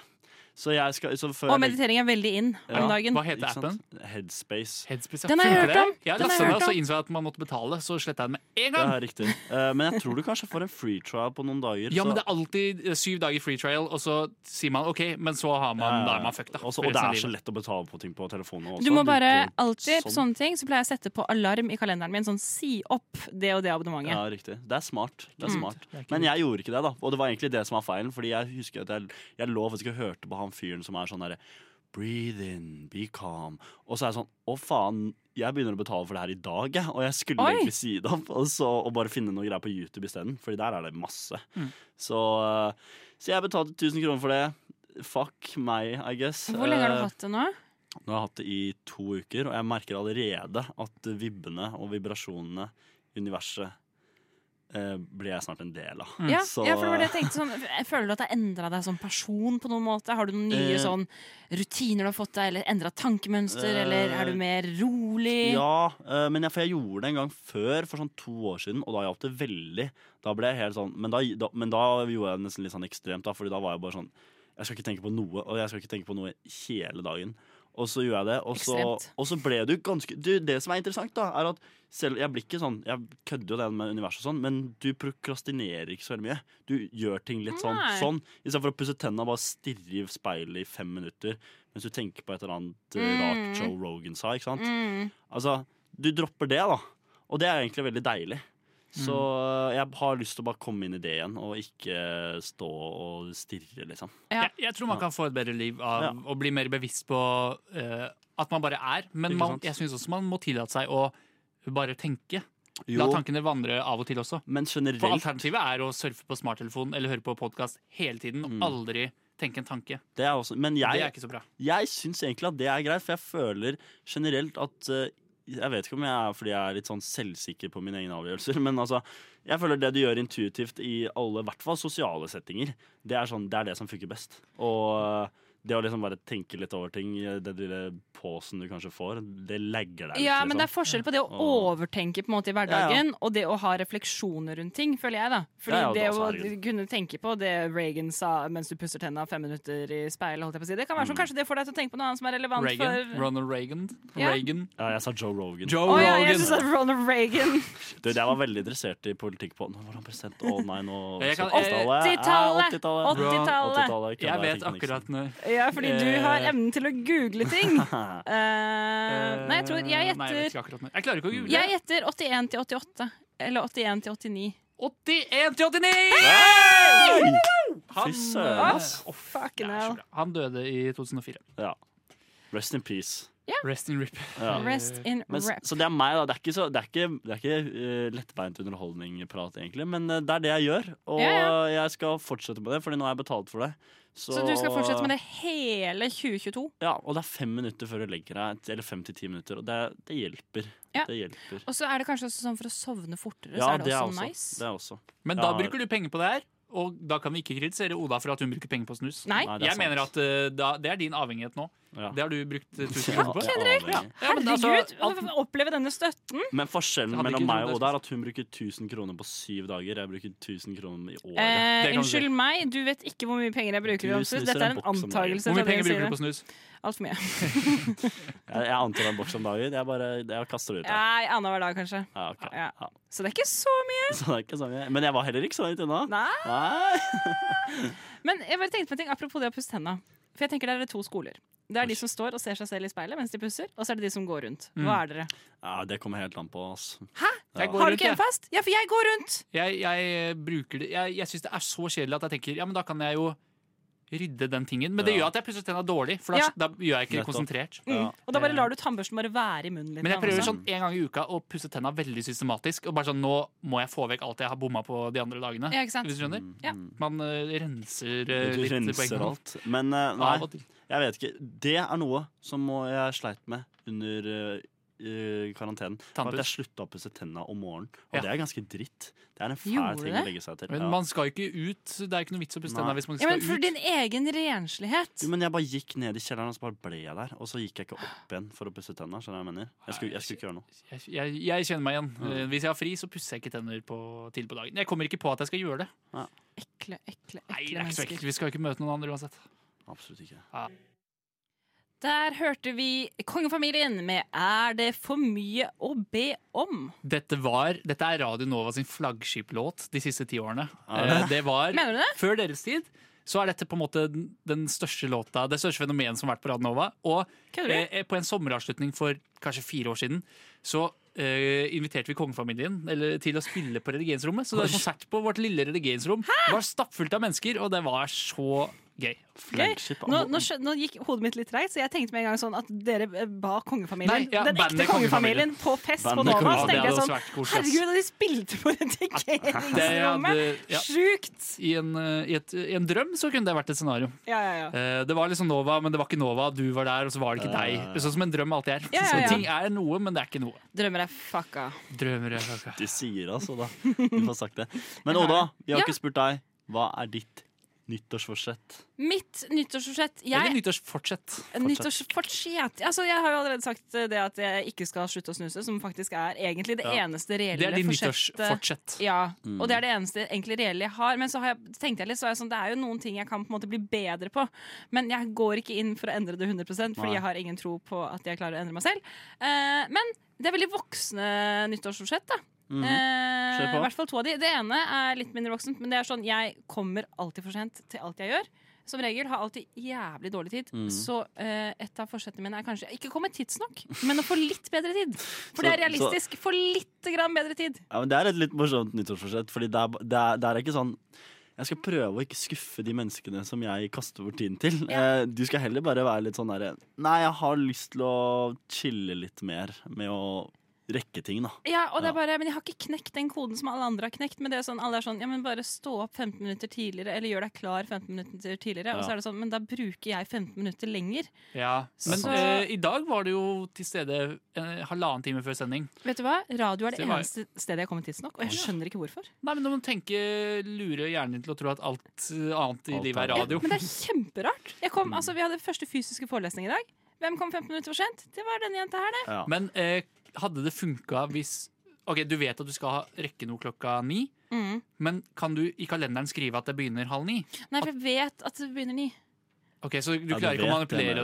Så jeg skal så før Og jeg legger- meditering er veldig in Ja. om dagen. Hva heter Ikke appen? sant? Headspace. Headspace, ja. Den har jeg Funker hørt om. det? Jeg Den har lastet jeg den, hørt og så om. innså jeg at man måtte betale, så sletta jeg den med en Det gang. er riktig. Eh, men jeg tror du kanskje får en free trial på noen dager. Ja, så- men det er alltid eh, syv dager free trial, og så sier man OK, men så har man, Ja, da er man fucked, da. Også, for og det resten av er så livet. lett å betale på ting på telefonen. Også. Du må bare går alltid på sånn. sånne ting Så pleier jeg å sette på alarm i kalenderen min. Sånn si opp det og det abonnementet. Ja, riktig. Det er smart. Det er Mm. smart. Men jeg gjorde ikke det, da. Og det var egentlig det som var feilen. Fordi jeg husker at jeg, jeg lå faktisk og hørte på han fyren som er sånn derre Breathe in, be calm. Og så er jeg sånn Å, faen, jeg begynner å betale for det her i dag, jeg. Og jeg skulle Oi. egentlig si det opp og, så, og bare finne noe greier på YouTube isteden, Fordi der er det masse. Mm. Så, eh, så jeg betalte 1000 kroner for det. Fuck meg, I guess. Hvor lenge har Eh, du hatt det nå? nå har jeg hatt det i to uker, og jeg merker allerede at vibbene og vibrasjonene i universet eh, blir jeg snart en del av. Ja, mm, Så- ja, for det var det jeg tenkte sånn, jeg Føler du at det har endra deg som person på noen måte? Har du noen nye Eh. sånn rutiner du har fått deg, eller endra tankemønster, Eh. eller er du mer rolig? Ja, eh, men jeg, for jeg gjorde det en gang før, for sånn to år siden, og da hjalp det veldig. Da ble jeg helt sånn, men da, da, men da gjorde jeg det nesten litt sånn ekstremt, da, fordi da var jeg bare sånn Jeg skal ikke tenke på noe, og jeg skal ikke tenke på noe hele dagen. Og så gjorde jeg det, og så, Ekstremt. og så ble det jo ganske du, Det som er interessant, da, er at selv Jeg blir ikke sånn Jeg kødder jo det med universet og sånn, men du prokrastinerer ikke så veldig mye. Du gjør ting litt sånn. Nei. sånn Istedenfor å pusse tenna og bare stirre i speilet i fem minutter mens du tenker på et eller annet eh, Mm. rart Joe Rogan sa. ikke sant? Mm. Altså, du dropper det, da. Og det er egentlig veldig deilig. Så øh, jeg har lyst til å bare komme inn i det igjen, og ikke stå og stirre, liksom. Ja. Jeg, jeg tror man kan få et bedre liv av Ja. å bli mer bevisst på eh, at man bare er. Men Ikke man, sant? jeg syns også man må tillate seg å bare tenke. La tankene vandre av og til også. men For generelt, alternativet er å surfe på smarttelefonen eller høre på podkast hele tiden og aldri tenke en tanke. Mm. det er også Men Det jeg, er ikke så bra. jeg syns egentlig at det er greit, for jeg føler generelt at øh, jeg vet ikke om jeg er fordi jeg er litt sånn selvsikker på mine egne avgjørelser, men altså, jeg føler det du gjør intuitivt i alle, i hvert fall sosiale settinger, det er, sånn, det er det som funker best. Og øh, det å liksom bare tenke litt over ting, den lille pausen du kanskje får, det legger deg litt. Ja, men liksom. det er forskjell på det å Og- overtenke på en måte i Ja, hverdagen og det å ha refleksjoner rundt ting, føler jeg. da Fordi Ja, ja, det altså, å herregud. kunne tenke på det Reagan sa mens du pusser tenna fem minutter i speilet, holdt jeg på å si, det kan være sånn kanskje det får deg til å tenke på noe annet som er relevant Reagan. for Ronald Reagan. Ja. Reagan. Ja, jeg sa Joe Rogan. Joe Å ja, Rogan. jeg synes at Ronald Reagan Du, jeg var veldig interessert i politikk på Nå var han president. Å nei, nå Jeg kan- 70-tallet. Eh, 80-tallet. 80-tallet. 80-tallet. 80-tallet, kødda, Jeg vet tenkte Nixon. akkurat når Ja, fordi du Eh. har evnen til å google ting. Eh, nei, jeg tror jeg Nei, jeg vet gjetter ikke akkurat når. Jeg klarer ikke å google. Jeg gjetter 81 til 88. Eller 81 til 89. 81 til 89! Han, Fy søren, ass. Å, det Fucking er så hell. bra. Han døde i 2004. Ja. Rest in peace. Rest in rip. Ja. Rest in Men, s- rep. så det er meg, da. Det er ikke, så, det er ikke, det er ikke eh, lettbeint underholdning-prat, egentlig. Men eh, det er det jeg gjør, og Ja, jeg skal fortsette med det, Fordi nå har jeg betalt for det. Så du skal fortsette med det hele 2022? Ja, og det er fem minutter før du legger deg. Eller fem til ti minutter. Og det, det hjelper. Ja. Det hjelper. Og så er det kanskje også sånn for å sovne fortere, Ja, så er det, det er også også, nice. det er også. Men da Ja. bruker du penger på det her, og da kan vi ikke kritisere Oda for at hun bruker penger på snus. Nei, Nei, det er Jeg mener sant. at eh, da, det er din avhengighet nå. Ja. Det har du brukt eh, 1000 Ja, kroner på. det er avhengig. Ja. Ja, men altså, herregud! alt- å- å Oppleve denne støtten. Men forskjellen Hadde mellom ikke meg og trodd det, Oda er at hun bruker 1000 kroner på syv dager. Jeg bruker 1000 kroner i året. Eh, det kan du unnskyld meg, du vet ikke hvor mye penger jeg bruker. Du Ramses. snuser Dette er en en boks om dagen. antakelse. Hvor mye penger bruker du på snus? Altfor mye. Jeg, jeg antar det er en boks om dagen. Jeg bare jeg kaster det ut. Ja. Nei, Annenhver dag, kanskje. Ja, ok. Ja. Ja. Så det er ikke så mye. Så det er ikke så mye. Men jeg var heller ikke så langt unna. Nei. Nei. Men jeg bare tenkte på en ting apropos det å pusse tenna. For jeg tenker det er to skoler. Det er de Oi. som står og ser seg selv i speilet mens de pusser, og så er det de som går rundt. Mm. Hva er dere? Ja, det kommer helt an på. Ass. Jeg går Har du rundt, ikke en jeg. fast? Ja, for jeg går rundt! Jeg, jeg eh, bruker det Jeg, jeg syns det er så kjedelig at jeg tenker ja, men da kan jeg jo rydde den tingen. Men det gjør Ja. at jeg pusser tenna dårlig, for da, Ja. da gjør jeg ikke Nettopp. konsentrert. Ja. Mm. Og da bare lar du tannbørsten bare være i munnen litt. Men jeg prøver også. sånn en gang i uka å pusse tenna veldig systematisk. Og bare sånn, nå må jeg få vekk alt jeg har bomma på de andre dagene. Ja, ikke sant? sånn- Hvis du skjønner? Ja. Man eh, renser Mm. eh, Du litt på egen renser hånd. alt. Men eh, Av nei, og til. jeg vet ikke. Det er noe som må jeg sleit med under eh, eh, karantenen. Var At jeg slutta å pusse tenna om morgenen. Og Ja. det er ganske dritt. Det er en fæl Gjorde ting det? å legge seg til. Men Ja. man skal jo ikke ut. Det er ikke noe vits å pusse Nei. tenna hvis man Ja, skal men for ut. din egen renslighet. Jo, men jeg bare gikk ned i kjelleren og så bare ble jeg der. Og så gikk jeg ikke opp igjen for å pusse tenna. Skjønner du hva jeg mener? Jeg skulle, jeg skulle ikke gjøre noe. Jeg, jeg, jeg kjenner meg igjen. Eh, Hvis jeg har fri, så pusser jeg ikke tenner på, til på dagen. Jeg kommer ikke på at jeg skal gjøre det. Ekle, ekle, Nei, ekle det er ikke så ekkelt. mennesker. Vi skal jo ikke møte noen andre uansett. Absolutt ikke. Der hørte vi Kongefamilien med 'Er det for mye å be om'? Dette, var, dette er Radio Nova sin flaggskiplåt de siste ti årene. Er det? Eh, Det var Mener du det? Før deres tid så er dette på en måte den, den største låta, det største fenomenet som har vært på Radio Nova. Og Kødder du? eh, på en sommeravslutning for kanskje fire år siden så eh, inviterte vi kongefamilien eller, til å spille på religensrommet. Så det var konsert på vårt lille religensrom. Det var stappfullt av mennesker, og det var så gøy. Gøy. Flaggskip. Nå, nå, skjø- nå gikk hodet mitt litt treigt, så jeg tenkte med en gang sånn at dere eh, ba kongefamilien, Nei, ja, den bandet ekte kongefamilien, på fest Bandet på Nova. kongefamilien. Så tenkte jeg det hadde sånn vært koselig. ass. Herregud, og de spilte på Det redigeringsrommet! hadde, ja, Sjukt! i, en, eh, i, et, I en drøm så kunne det vært et scenario. Ja, ja, ja. Eh, Det var liksom Nova, men det var ikke Nova. Du var der, og så var det Ja, ikke ja, deg. ja. Det er Sånn som en drøm alltid er. Ja, ja, ja. Så ting er noe, men det er ikke noe. Drømmer er fucka. Drømmer er kaka. De sier altså, da. Du får sagt det. Men Oda, vi har Ja. ikke spurt deg. Hva er ditt nyttårsforsett? Mitt nyttårsforsett Eller jeg, nyttårsfortsett. nyttårsforsett altså, jeg har jo allerede sagt eh, det at jeg ikke skal slutte å snuse, som faktisk er egentlig det Ja. eneste reelle Det er din forsettet. nyttårsfortsett. Ja, og det er det eneste egentlig reelle jeg har. Men så har jeg, tenkte jeg litt, så er jeg sånn, det er jo noen ting jeg kan på en måte bli bedre på. Men jeg går ikke inn for å endre det 100 fordi Nei. jeg har ingen tro på at jeg klarer å endre meg selv. Eh, men det er veldig voksne nyttårsforsett. da. Mm. Eh, Mhm. Kjør på. I hvert fall to av de. Det ene er litt mindre voksent, men det er sånn, jeg kommer alltid for sent til alt jeg gjør. Som regel har alltid jævlig dårlig tid. Mhm. Så eh, et av forsettene mine er kanskje ikke komme tidsnok, men å få litt bedre tid. For det Så- er realistisk. Få litt grann bedre tid. Ja, men det er et litt morsomt nyttårsforsett, Fordi det er, ba- det er, det er ikke sånn jeg skal prøve å ikke skuffe de menneskene som jeg kaster bort tiden til. Eh, Du skal heller bare være litt sånn derre Nei, jeg har lyst til å chille litt mer med å rekke ting, da. Ja, og Ja. det er bare, men jeg har ikke knekt den koden som alle andre har knekt. Men det er sånn, alle er sånn, ja, men bare stå opp 15 minutter tidligere, eller gjør deg klar 15 minutter tidligere. Og Ja. så er det sånn, men da bruker jeg 15 minutter lenger. Ja. Men Så- eh, i dag var du jo til stede eh, halvannen time før sending. Vet du hva? Radio er det Se hva- eneste stedet jeg kommer tidsnok, og jeg skjønner ikke hvorfor. Nei, men du må tenke, lure hjernen din til å tro at alt eh, annet i Alt livet er- er Ja, radio. men det er kjemperart. Jeg kom, altså, vi hadde første fysiske forelesning i dag. Hvem kom 15 minutter for sent? Det var denne jenta her, det. Ja. Men eh, hadde det funka hvis Ok, Du vet at du skal ha- rekke noe klokka ni, Mhm. men kan du i kalenderen skrive at det begynner halv ni? Nei, for jeg vet at det begynner ni. Ok, Så du Ja, du klarer ikke å vet det, manipulere men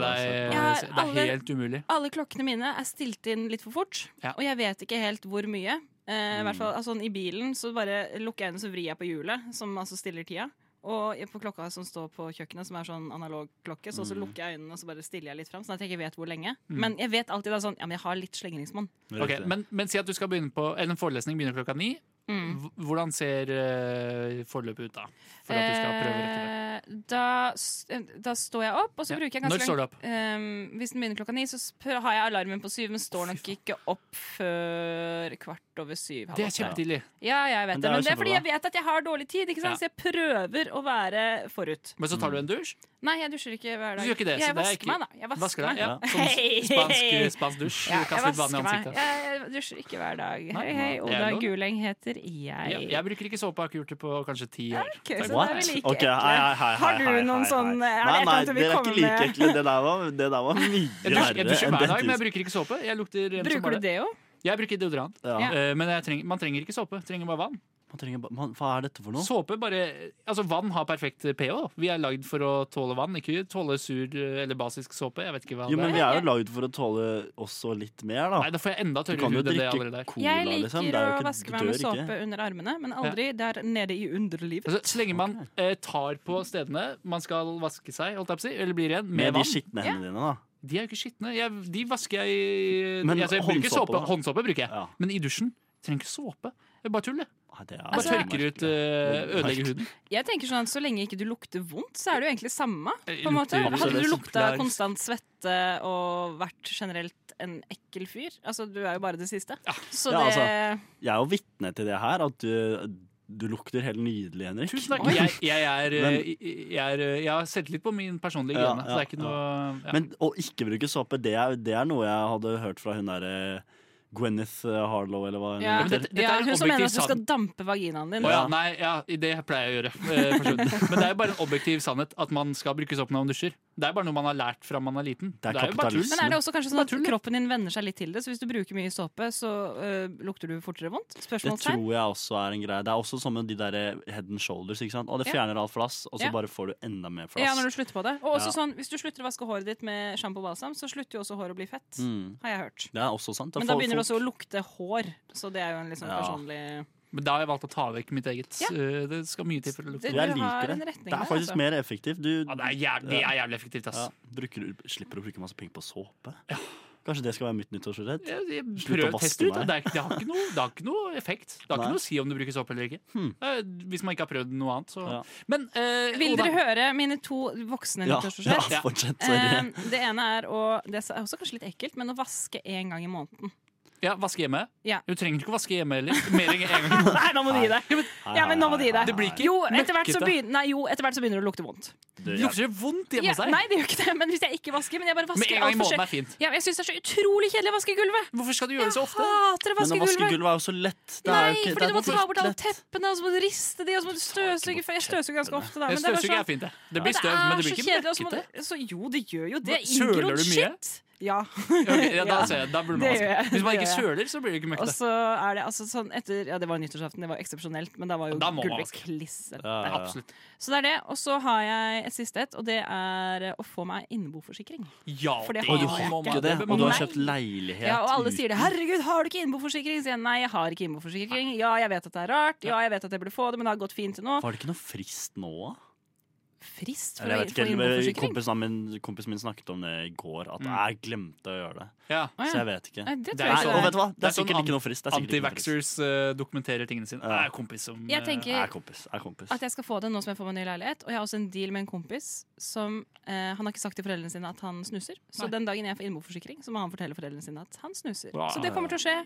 altså- deg? Ja, eh, Det alle- er helt umulig. Alle klokkene mine er stilt inn litt for fort, Ja. og jeg vet ikke helt hvor mye. Eh, i, hvert fall, altså, I bilen så bare lukker jeg inn og så vrir jeg på hjulet, som altså stiller tida. Og på klokka som står på kjøkkenet, som er sånn analog klokke, så, så lukker jeg øynene og så bare stiller jeg litt fram. Sånn at jeg ikke vet hvor lenge. Men jeg vet alltid da sånn Ja, men jeg har litt slengringsmonn. Ok, men, men si at du skal begynne på eller en forelesning begynner klokka ni. Mm. Hv- Hvordan ser eh, forløpet ut da? For at du skal prøve å rekke det. Eh, da, s- eh, da står jeg opp, og så Ja. bruker jeg Når ganske står du opp? Ehm, hvis den begynner klokka ni, så sp- har jeg alarmen på syv, men står nok ikke opp før kvart over syv. halv Det er åtte. kjempetidlig. Ja, jeg vet Men det, det er jo men det er fordi jeg kjempebra. vet at jeg har dårlig tid, ikke sant? Ja. så jeg prøver å være forut. Men så tar du en dusj. Nei, jeg dusjer ikke hver dag. Du gjør ikke det, så jeg det er vasker meg, ikke- da. Jeg vasker, Vasker deg. meg. Ja. Sånn Hei! spansk, spansk dusj. Ja, jeg Kaster litt vann i vasker meg. ansiktet. Jeg, jeg dusjer ikke hver dag. Nei, Hei, hei, det er Oda lov. Guleng heter jeg. Ja, jeg bruker ikke såpe, har ikke gjort det på kanskje ti år. Ok, så What? da er vi like Ok, hei, ekle. hei, hei, hei, Har du hei, noen hei, sånn hei. Er det Nei, et nei, eller annet du vil dere er komme ikke like med? ekle. Det der var, det der var mye Jeg dusjer, enn jeg dusjer hver dag, men dette. jeg bruker ikke såpe. Jeg lukter ren som Bruker bare du deo? Jeg bruker deodorant. Ja. Eh, Men jeg trenger, man trenger ikke såpe. Trenger bare vann. Man trenger ba- man, hva er dette for noe? Såpe bare Altså, vann har perfekt pH. Vi er lagd for å tåle vann, ikke tåle sur eh, eller basisk såpe. Jeg vet ikke hva Jo, men det er. vi er jo lagd for å tåle også litt mer, da. Nei, da får jeg enda Du tørrere kan jo hud enn det jeg allerede drikke er. cola, Jeg liker liksom. Det er jo å ikke, vaske du meg med dør såpe ikke. under armene, men aldri der nede i underlivet. Altså, så lenge man eh, tar på stedene man skal vaske seg, holdt jeg på å si, eller blir ren, med, Med de vann skitne hendene dine, da. De er jo ikke skitne. Jeg, de vasker jeg Men altså, jeg bruker håndsåpe, såpe. da? Håndsåpe bruker jeg. Ja. Men i dusjen trenger ikke såpe. Det er bare tull, det. Nei, det er Bare Altså- tørker ut, eh, ødelegger huden. Jeg tenker sånn at Så lenge ikke du lukter vondt, så er det jo egentlig samme. Eh, På en måte. lukter- Hadde du absolutt. lukta Klar. konstant svette og vært generelt en ekkel fyr Altså, du er jo bare det siste. Så Ja, altså. det Jeg er jo vitne til det her, at du, du lukter helt nydelig, Henrik. Tusen takk. Jeg, jeg, er, eh, Men- jeg, jeg, er, eh, jeg har selvtillit på min personlige Ja, hygiene. så det er ikke ja, noe ja. Men å ikke bruke såpe, det er, det er noe jeg hadde hørt fra hun derre Gwyneth eh, Harlow, eller hva hun ja. men heter. dette- dette ja, er en Hun som mener objektiv at du skal sannhet. dampe vaginaen din. Å ja, nei, ja, det pleier jeg å gjøre. eh, for så vidt. Men det er jo bare en objektiv sannhet at man skal bruke såpe når man dusjer. Det er bare noe man har lært fra man er liten. Det er jo bare tull. kapitalisme. Men er det også kanskje sånn at Bare tull, det. kroppen din venner seg litt til det? Så hvis du bruker mye såpe, så øh, lukter du fortere vondt? Det Spørsmålstegn? tror jeg også er en greie. Det er også sånn med de der head and shoulders. ikke sant? Og det Ja. fjerner all flass, og så Ja. bare får du enda mer Ja, når flass. du slutter på det. Og også Ja. sånn, Hvis du slutter å vaske håret ditt med sjampo og balsam, så slutter jo også håret å bli fett. Mm. Har jeg hørt. Det er også sant. Men da får- begynner folk- det også å lukte hår, så det er jo en litt sånn Ja. personlig Men da har jeg valgt å ta vekk mitt eget. Ja. Eh, Det skal mye til for å lukte. det, Jeg du har liker en det. retning Det er der, faktisk altså. mer effektivt. Du Ja, det, er jævlig, det er jævlig effektivt, ass. ja, bruker, slipper å bruke masse penger på såpe. Kanskje det skal være mitt nyttårsforsett? Jeg, jeg Slutt å prøv vaske test ut. da. meg. Det, er, ikke- det, har ikke noe, det har ikke noe effekt. Det Nei. har Hmm. ikke noe å si om du bruker såpe eller ikke. Eh, Hvis man ikke har prøvd noe annet, så Ja. Men eh, Vil Oda, dere høre mine to voksne Ja, ja, nyttårsforsett? Ja. fortsett. Eh, Sorry. det ene er å Det er også kanskje litt ekkelt, men å vaske én gang i måneden. ja, vaske hjemme? Ja. Du trenger ikke å vaske hjemme heller. Mer enn en gang. Nei, nå må du gi deg! Nei, Ja, men nå må du gi nei, deg. nei, Det blir nei. ikke Jo, etter hvert så møkkete. begynner, nei, jo, etter hvert så begynner det å lukte vondt. Det- Lukter det vondt hjemme Ja, hos deg? nei, det gjør ikke det, men hvis jeg ikke vasker Men jeg bare Med vasker en gang i alt for måneden seg. er fint. Ja, men jeg syns det er så utrolig kjedelig å vaske gulvet. Hvorfor skal du gjøre Jeg det så ofte? hater å Men vaske å vaske gulvet. gulvet er jo så lett. Det er Nei, jo ikke- fordi det er du må ta for bort alle lett. teppene, og så må du riste de, og så må du støvsuge for Jeg støvsuger ganske ofte, da. Men Jeg det er bare Støvsuger sånn- er fint, det. Ja, Det blir støv, men det blir er så kjedelig, altså. og ikke så må møkkete. du- Så jo, det gjør jo det. Søler du Inngrodd mye? shit. Ja. Ok, ja, da, Ja. ser jeg, da burde Det man gjør jeg, vaske. Hvis man det ikke gjør søler, så blir det ikke Og møkkete. så er det altså sånn etter Ja, det var nyttårsaften, det var eksepsjonelt, men da var jo Da må man gulvet vaske. klissete. Ja, ja, ja. Absolutt. Så det er det. Og så har jeg et siste et, og det er eh, å få meg inneboforsikring. Ja, For det Og du Ah, har må man- ikke det, bør og man- du har Nei. kjøpt leilighet Ja, og alle sier det. uten- 'Herregud, har du ikke innboforsikring?' sier jeg. Nei, jeg har ikke innboforsikring. Ja, jeg vet at det er rart. Ja, jeg vet at jeg burde få det, men det har gått fint til nå. Var det ikke noe frist nå? da? Frist for Eller å jeg få vet ikke, innboforsikring? kompisen min, kompisen min snakket om det i går, Mm. at jeg glemte å gjøre det. Ja. Å, ja. Så jeg vet ikke. Nei, det Det tror er Nei, jeg sånn- og ikke. vet det du hva? Det Det er er sånn sikkert ikke noe frist. Det er sikkert ikke noe frist. Anti-vaxxers eh, dokumenterer tingene sine. Ja. Det er kompis som Jeg eh, tenker- Jeg er kompis. Jeg er kompis. er. At jeg skal få det nå som jeg får meg ny leilighet. Og jeg har også en deal med en kompis som eh, Han har ikke sagt til foreldrene sine at han snuser. Så Nei. den dagen jeg får innboforsikring, så må han fortelle foreldrene sine at han snuser. Wow. Så det kommer til å skje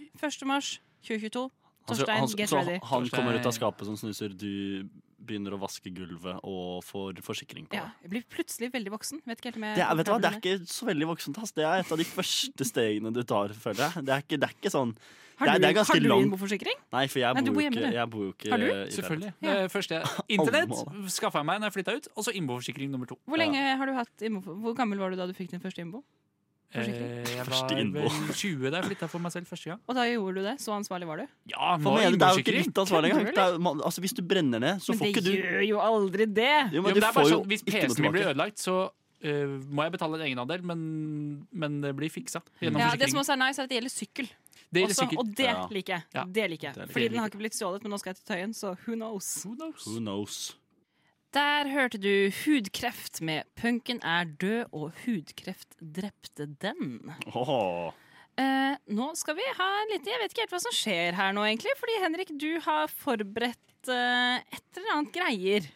1. mars 2022. Han skal- Torstein, Altså, han, get så han ready. Torstein- kommer ut av skapet som snuser, du begynner å vaske gulvet og får forsikring på det. Ja, jeg blir plutselig veldig voksen. Vet ikke helt om jeg Det er, vet du hva, det er har ikke så veldig voksent. Ass. Det er et av de første stegene du tar, føler jeg. Det er ikke, det er ikke sånn det er- du- det er ganske Har du langt. innboforsikring? Nei, for jeg Nei, bor du jo bor hjemme, ikke, du. jeg bor jo ikke Har du? i leilighet. Selvfølgelig. Ja. Det første jeg, internett Alle skaffa jeg meg når jeg flytta ut, og så innboforsikring nummer to. Hvor lenge har du hatt innbo- Hvor gammel var du da du fikk din første innbo? Eh, Forsikring. Jeg var Første innbo. vel 20 da jeg flytta for meg selv første gang. Og da gjorde du det? Så ansvarlig var du? Ja, For nå meg, er det er jo ikke innboforsikring. ditt ansvar engang. Kødder Det er- man- Altså, hvis du brenner ned, så får men ikke det du gjør jo aldri Jo, det! Jo, men men du det er får bare jo sånn, hvis ikke noe PC-en min blir tilbake. ødelagt, så eh, må jeg betale en egenandel, men, men det blir fiksa gjennom Ja, det som forsikring. også er nice, er at det gjelder sykkel. Det gjelder også, sikkert. og det Ja. liker jeg. Ja. Det liker Det liker jeg. Fordi jeg. den har ikke blitt stjålet, men nå skal jeg til Tøyen, så who knows. Who knows? Who knows? Der hørte du Hudkreft med 'Punken er død og hudkreft drepte den'. Åh. Eh, nå skal vi ha en liten Jeg vet ikke helt hva som skjer her nå, egentlig. Fordi Henrik, du har forberedt eh, et eller annet greier.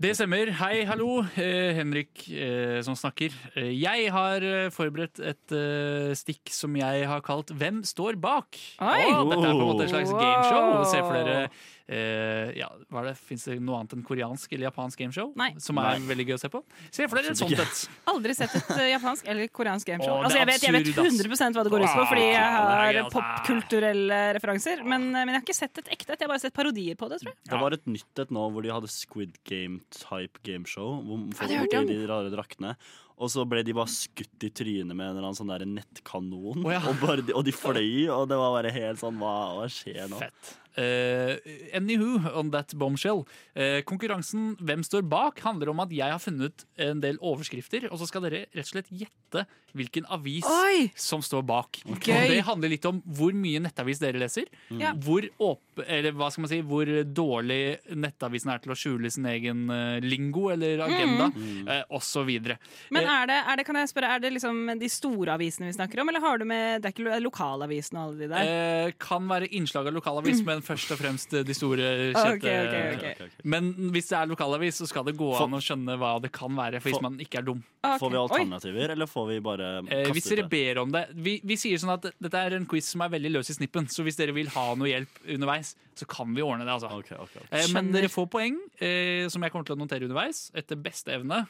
Det stemmer. Hei, hallo. Eh, Henrik eh, som snakker. Eh, jeg har eh, forberedt et eh, stikk som jeg har kalt 'Hvem står bak?' Oi! Og dette er på en måte et slags Wow. gameshow. Se for dere eh, ja, hva er det? Fins det noe annet enn koreansk eller japansk gameshow? Nei. Som Nei. er veldig gøy å se på. Se for dere et Absolutt sånt ikke. et. Aldri sett et eh, japansk eller koreansk gameshow. Å, det altså, er jeg, vet, jeg vet absurd, ass. 100 hva det går ut på, fordi jeg Ah, det har er gøy, ass. popkulturelle referanser. Men, eh, men jeg har ikke sett et ekte et. Jeg har bare sett parodier på det, tror jeg. Det var et nytt et nå hvor de hadde Squid Game-type gameshow. Hvor folk det hørte gikk jeg i de rare draktene. Og så ble de bare skutt i trynet med en eller annen sånn der nettkanon. Å, ja. og, bare, de- og de fløy, og det var bare helt sånn Hva, hva skjer nå? Fett. Eh, anywho, on that bombshell. Eh, konkurransen Hvem står bak? handler om at jeg har funnet en del overskrifter, og så skal dere rett og slett gjette hvilken avis Oi! som står bak. Gøy. Og det handler litt om hvor mye nettavis dere leser, Mm. Ja. hvor, åp eller, hva skal man si, hvor dårlig nettavisen er til å skjule sin egen eh, lingo Mm. eller agenda, eh, og så videre. Men Eh, er det, er det, kan jeg spørre, er det liksom de store avisene vi snakker om, eller har du med det er ikke lo- lokalavisene og alle de der? eh, kan være innslag av lokalavis, men først og fremst eh, de store kjente Ok, ok, ok. Ok, ok, ok. Men hvis det er lokalavis, så skal det gå For- an å skjønne hva det kan være. For For- hvis man ikke er dum Ah, Ok. Får vi Oi. alternativer, eller får vi bare eh, Hvis kaste dere ut det? ber om det vi, vi sier sånn at dette er en quiz som er veldig løs i snippen, så hvis dere vil ha noe hjelp underveis, så kan vi ordne det. altså Ok, ok, ok. eh, Men Skjønner. dere får poeng, eh, som jeg kommer til å notere underveis, etter beste evne.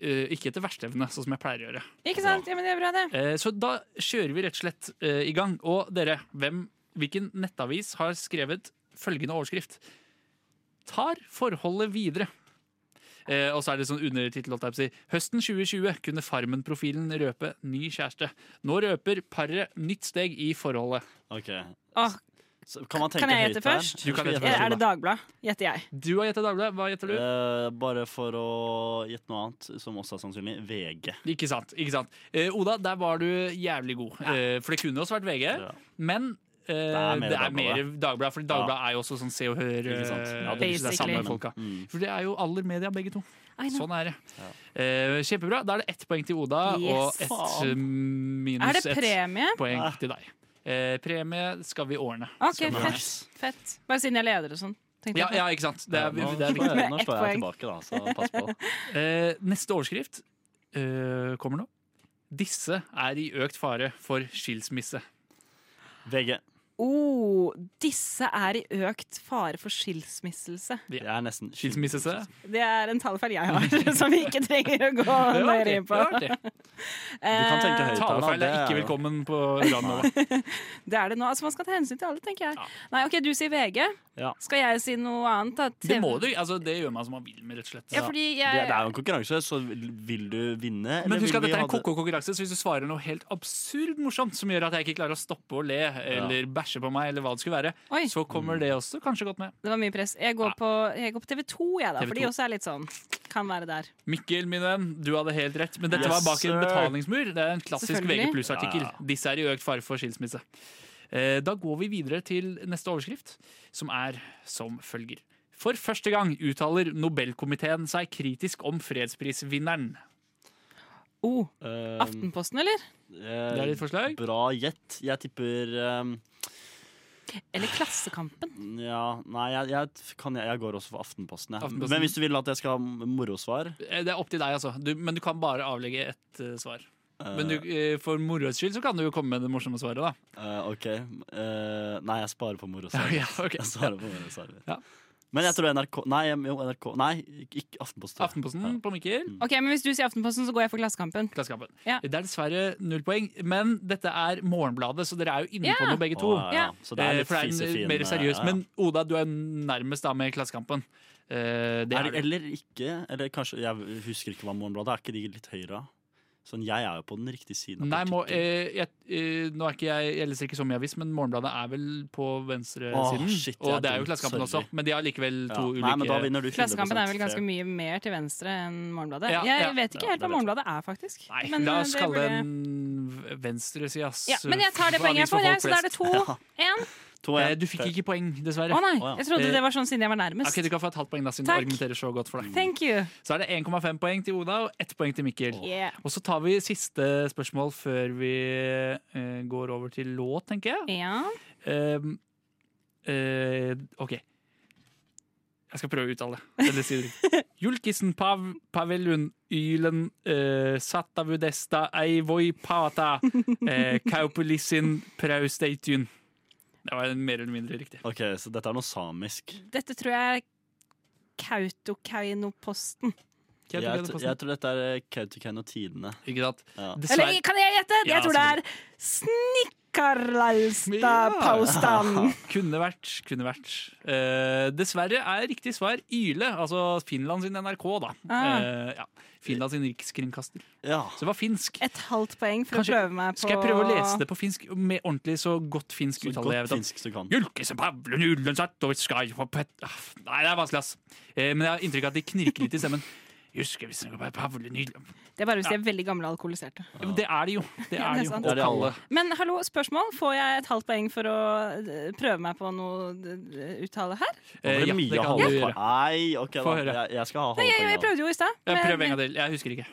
Eh, ikke etter verste evne, sånn som jeg pleier å gjøre. Ikke sant? Ja, men det er bra, det. Eh, så da kjører vi rett og slett eh, i gang. Og dere, hvem, hvilken nettavis har skrevet følgende overskrift? Tar forholdet videre. Eh, og så er det sånn undertittel. holdt jeg på å si. Høsten 2020 kunne Farmen-profilen røpe ny kjæreste. Nå røper paret nytt steg i forholdet. Ok. Åh, Så kan man tenke Kan jeg høyt gjette her? først? Du kan Skal jeg gjette Ah, er, først. er det Dagbladet? Gjetter jeg. Du har gjetta Dagbladet. Hva gjetter du? Eh, bare for å gjette noe annet, som også er sannsynlig, VG. Ikke sant. ikke sant. Eh, Oda, der var du jævlig god. Eh, for det kunne også vært VG. Ja. Men Eh, mer det er mer Dagbladet. Dagbladet, for Dagbladet er jo også sånn Se og Hør. Ikke sant? eh, Ja, det er Basically. samme men- folka. Mm. For det er jo aller media, begge to. I know. Sånn er det. Eh, kjempebra. Da er det ett poeng til Oda Yes. og ett eh, Er minus det ett premie? poeng til deg. Eh, premie skal vi ordne. Ah, OK, Skal vi- fett. fett. Bare siden jeg leder og sånn. tenkte Ja, jeg på. ja, ikke sant. Det er, Nå det er viktig. slår jeg- Nå Ett slår jeg poeng. tilbake, da, så pass på. Eh, neste overskrift eh, kommer nå. Disse er i økt fare for skilsmisse. VG. Oh, disse er i økt fare for skilsmisselse. Jeg er nesten Skilsmissese? Det er en tallfeil jeg har, som vi ikke trenger å gå Det var nøyere artig. inn Det på. Eh, var artig. Du kan tenke høyt her, da. Eh, Talefeil Det er ikke jo- velkommen på radioen. Det er det nå. Altså, man skal ta hensyn til alle, tenker jeg. Nei, OK, du sier VG. Ja. Skal jeg si noe annet? Da? Det må du, altså det gjør man som man vil med, rett og slett. Ja, fordi Det, det er jeg jo en konkurranse, så vil du vinne? eller Men husk vil at vi dette er ha en det- koko konkurranse, så hvis du svarer noe helt absurd morsomt som gjør at jeg ikke klarer å stoppe å le eller bæsje på meg, eller hva det skulle være, Oi, så Mm. kommer det også kanskje godt med. det var mye press. Jeg går på, jeg går på TV2, jeg, da. TV2. For de også er litt sånn Kan være der. Mikkel, min venn, du hadde helt rett, men dette Yes, var bak en sir. betalingsmur. Det er en klassisk VG Selvfølgelig. pluss-artikkel. Ja, Disse er i økt fare for skilsmisse. Eh, Da går vi videre til neste overskrift, som er som følger. For første gang uttaler Nobelkomiteen seg kritisk om fredsprisvinneren. Oh, Eh, Aftenposten, eller? eh, Det er ditt forslag? Bra gjett. Jeg tipper um, Eller Klassekampen? Ja, nei, jeg, jeg, kan, jeg, jeg går også for Aftenposten. Jeg. Aftenposten. Men hvis du vil at jeg skal ha morosvar Eh, Det er opp til deg, altså. Du, men du kan bare avlegge ett eh, svar. eh, Men du, eh, for moroets skyld så kan du jo komme med det morsomme svaret, da. eh, OK. Eh, nei, jeg sparer på morosvar. Ja, ok. Jeg svarer på morosvar. Ja. Men jeg tror NRK Nei, jo, NRK, nei ikke Aftenposten. Aftenposten på Mikkel. Ok, men Hvis du sier Aftenposten, så går jeg for Klassekampen. Klassekampen. Ja. Det er dessverre null poeng, men dette er Morgenbladet, så dere er jo inne Ja. på noe begge to. Å, ja, ja. Så det er Eh, litt for det er fisefin, en mer seriøs. ja, ja. Men Oda, du er nærmest da med Klassekampen. Eh, det Er er det, eller ikke. Eller kanskje, jeg husker ikke hva Morgenbladet er. Er ikke de litt høyere? Sånn, jeg er jo på den riktige siden. av Nei, må, politikken. eh, jeg, eh, nå er ikke jeg, jeg leser ikke så mye avis, men Morgenbladet er vel på venstresiden. Åh, shit, jeg og er det er jo dum. Klassekampen Sorry. også, men de har likevel Ja. eh, to ulike Nei, men da vinner du 100%. Klassekampen er vel ganske Fair. mye mer til venstre enn Morgenbladet. Ja, ja. Jeg vet Ja, ikke helt det vet hva jeg. Morgenbladet er, faktisk. Nei, Men, la eh, oss det kalle burde- det en venstresidas ja, Men jeg tar det eh, poenget jeg avis for får, jeg, folk så da er det flest. to. Én. To, Eh, en. Du fikk ikke poeng, dessverre. Å nei, Å, ja. jeg trodde Eh, det var sånn siden jeg var nærmest. Ok, Du kan få et halvt poeng, da, siden Takk. du argumenterer så godt for deg. Thank you. Så er det 1,5 poeng til Oda og 1 poeng til Mikkel. Yeah. Og så tar vi siste spørsmål før vi eh, går over til låt, tenker jeg. Ja. Ehm, eh, OK. Jeg skal prøve å uttale det. Eller si det. Julkissen pav, pavelun ylen eh, sattavudesta eivoi pata eh, kaupulissin prausteitun. Det var mer eller mindre riktig. Ok, så dette er noe samisk. Dette tror jeg er Kautokeinoposten. Hva Jeg, er det t- på jeg sånn? tror dette er eh, Kautokeino Tidene. Ikke sant? Ja. Eller Dessverre. kan jeg gjette? Ja, jeg tror det er Snikkarlalstadpaustan. Ja. Kunne vært, kunne vært. Eh, dessverre er riktig svar Yle, altså Finland sin NRK, da. Ah. Eh, ja. Finland sin rikskringkaster. Ja. Så det var finsk. Et halvt poeng for å Kanskje- prøve meg på Skal jeg prøve å lese det på finsk med ordentlig så godt finsk Så uttale? godt jeg vet om? finsk du kan. Julkese Pavlen Ulensatt og Sky og Pet... Aff, Nei, det er vanskelig, ass. Eh, men jeg har inntrykk av at de knirker litt i stemmen. Juske, hvis det var Pavlen Ulen- Det er bare hvis de er veldig gamle alkoholiserte. Ja, men Det er de jo. Det Ja, er det er de jo. sant. Det er de alle. Kalle. Men hallo, spørsmål. Får jeg et halvt poeng for å eh, prøve meg på noe eh, uttale her? Det Eh, var ja, det mye kan du halvpoeng. gjøre. Nei, ok, da. Få høre. Jeg, jeg skal ha Nei, jeg, jeg halvpoeng. da. prøvde jo i stad. Eh, Prøv en gang til. Jeg husker ikke.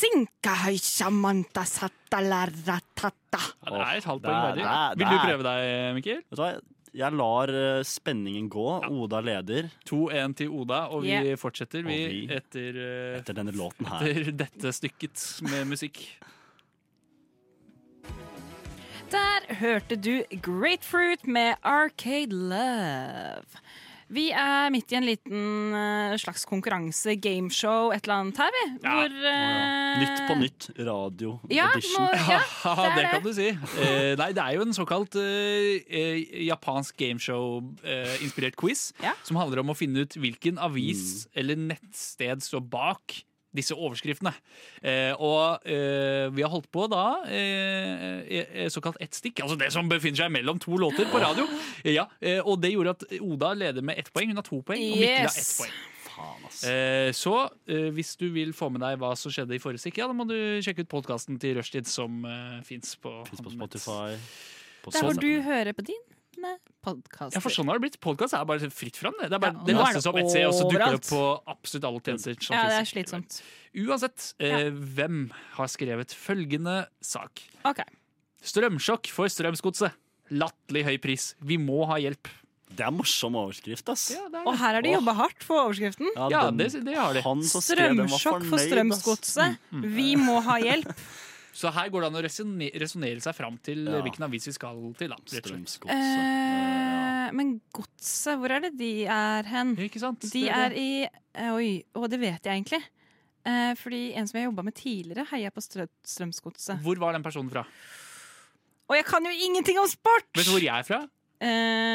Sinkahaisamantsattalarratata. Ja, det er et halvt Åh, poeng der, verdig. der, Vil du der. prøve deg, Mikkel? Vet du hva? Jeg lar eh, spenningen gå. Oda leder 2-1 til Oda, og vi Yeah. fortsetter vi Og vi- etter, eh, etter denne låten her. etter dette stykket med musikk. Der hørte du Grapefruit med Arcade Love. Vi er midt i en liten eh, slags konkurranse, gameshow, et eller annet her, vi. Hvor eh, Nytt på nytt radio Ja, må, edition. ja, Haha, det det er kan det. du si. Eh, nei, det er jo en såkalt eh, eh, japansk gameshow-inspirert quiz Ja. som handler om å finne ut hvilken Mm. avis eller nettsted står bak disse overskriftene. Eh, og eh, vi har holdt på da eh, eh, såkalt ett stikk, altså det som befinner seg mellom to låter på radio. Ja, eh, og det gjorde at Oda leder med ett poeng. Hun har to poeng, og Mikkel har ett Yes. poeng. Faen, ass. Eh, Så eh, hvis du vil få med deg hva som skjedde i forrige stikk, ja, da må du sjekke ut podkasten til Rushtid som eh, fins på, Fins på Spotify. På Der hvor sånn- du hører på eh, dine podkaster. Ja, for sånn har det blitt. Podkast er bare fritt fram. Det Det er bare, Ja, og det nå er lastes det opp ett sted, og så dukker det opp på overalt. absolutt alle tjenester. sånn som Ja, det er finnes. slitsomt. Uansett, eh, hvem har skrevet følgende sak? Ok. Strømsjokk for Strømsgodset. Latterlig høy pris. Vi må ha hjelp. Ah, Det er morsom overskrift, ass. Ja, Og her har de jobba hardt for overskriften. Ja, den- det, det har de. Han som skrev den var Strømsjokk for fornøyd, ass. Mm, Strømsgodset. Vi må ha hjelp. Så her går det an å resonne- resonnere seg fram til eh, Ja. hvilken avis vi skal til. Da, rett og slett. Strømsgodset. Eh, ja. Eh, men godset, hvor er det de er hen? Ja, ikke sant? De Det- er det- i eh, Oi, og det vet jeg egentlig. Eh, fordi en som jeg jobba med tidligere, heia på strø Strømsgodset. Hvor var den personen fra? Og jeg kan jo ingenting om sport! Vet du hvor jeg er fra?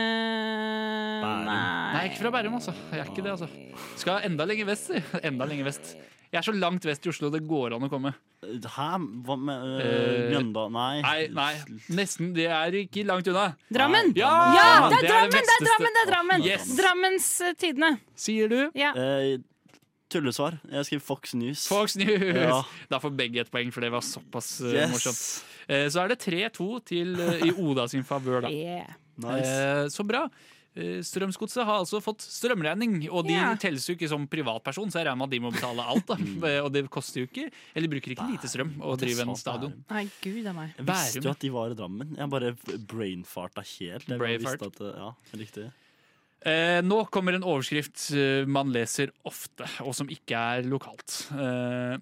Eh, Bærum. Nei, jeg er ikke fra Bærum, altså. Jeg er ikke det, altså. Skal enda lenger vest, si. Enda lenger vest. Jeg er så langt vest i Oslo det går an å komme. Eh, Hæ? Hva med uh, Eh, Mjøndalen? Nei. Nei, nei, nesten. Det er ikke langt unna. Drammen! Ja! Ja, det er Drammen! Det Det er det er vesteste. Drammen! det er Drammen Yes. Drammens eh, Tidende. Sier du? Ja. Eh, tullesvar. Jeg skriver Fox News. Fox News! Ja. Da får begge et poeng, for det var såpass eh, yes. morsomt. Eh, så er det 3-2 til eh, i Oda sin favør, da. Yeah. Nice. Eh, så bra. Eh, Strømsgodset har altså fått strømregning, og de Ja. telles jo ikke som privatperson, så jeg regner med at de må betale alt. Da. Eh, og det koster jo ikke, eller bruker ikke lite strøm å Jeg drive sa en stadion. Bærum. Nei, gud a meg. Jeg visste Bærum. jo at de var i Drammen. Jeg bare brainfarta helt. Jeg bare Brainfart. visste at, eh, ja, riktig. Eh, nå kommer en overskrift eh, man leser ofte, og som ikke er lokalt. Eh,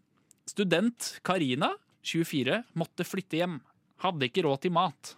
student Karina, 24, måtte flytte hjem. Hadde ikke råd til mat.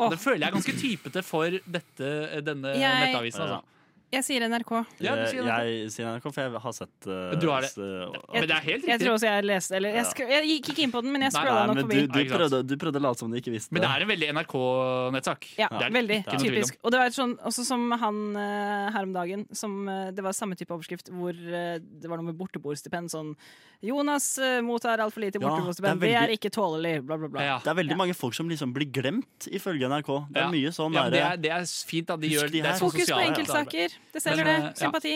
Åh. Det føler jeg er ganske typete for dette, denne Jeg- nettavisen. Ja. Altså. Jeg sier NRK. Ja, du Eh, sier det. jeg sier NRK, for jeg har sett eh, Du har det. s- eh, Men det er helt Jeg tror riktig. også jeg leste eller jeg, Ja. skr- jeg gikk ikke inn på den, men jeg Nei, scrolla Nei, nok men forbi. du, du, Ja, ikke sant. prøvde, du prøvde å late som du ikke visste Men det er en veldig NRK-nettsak. Ja, Det er- veldig det er ikke noe tvil om. typisk. Og det var et sånn, også som han eh, her om dagen, som eh, det var samme type overskrift hvor eh, det var noe med borteboerstipend, sånn Jonas eh, mottar altfor lite i Ja, borteboerstipend, det det, er er ikke tålelig, bla, bla, bla. Ja. Det er veldig mange folk som liksom blir glemt, ifølge NRK. Det er Ja. mye sånn Ja, men det, derre- er, det er fint at de Husk de gjør det er her. sånn Fokus på sosialt arbeid. enkeltsaker. Det selger, Men, det. eh, ja. Sympati.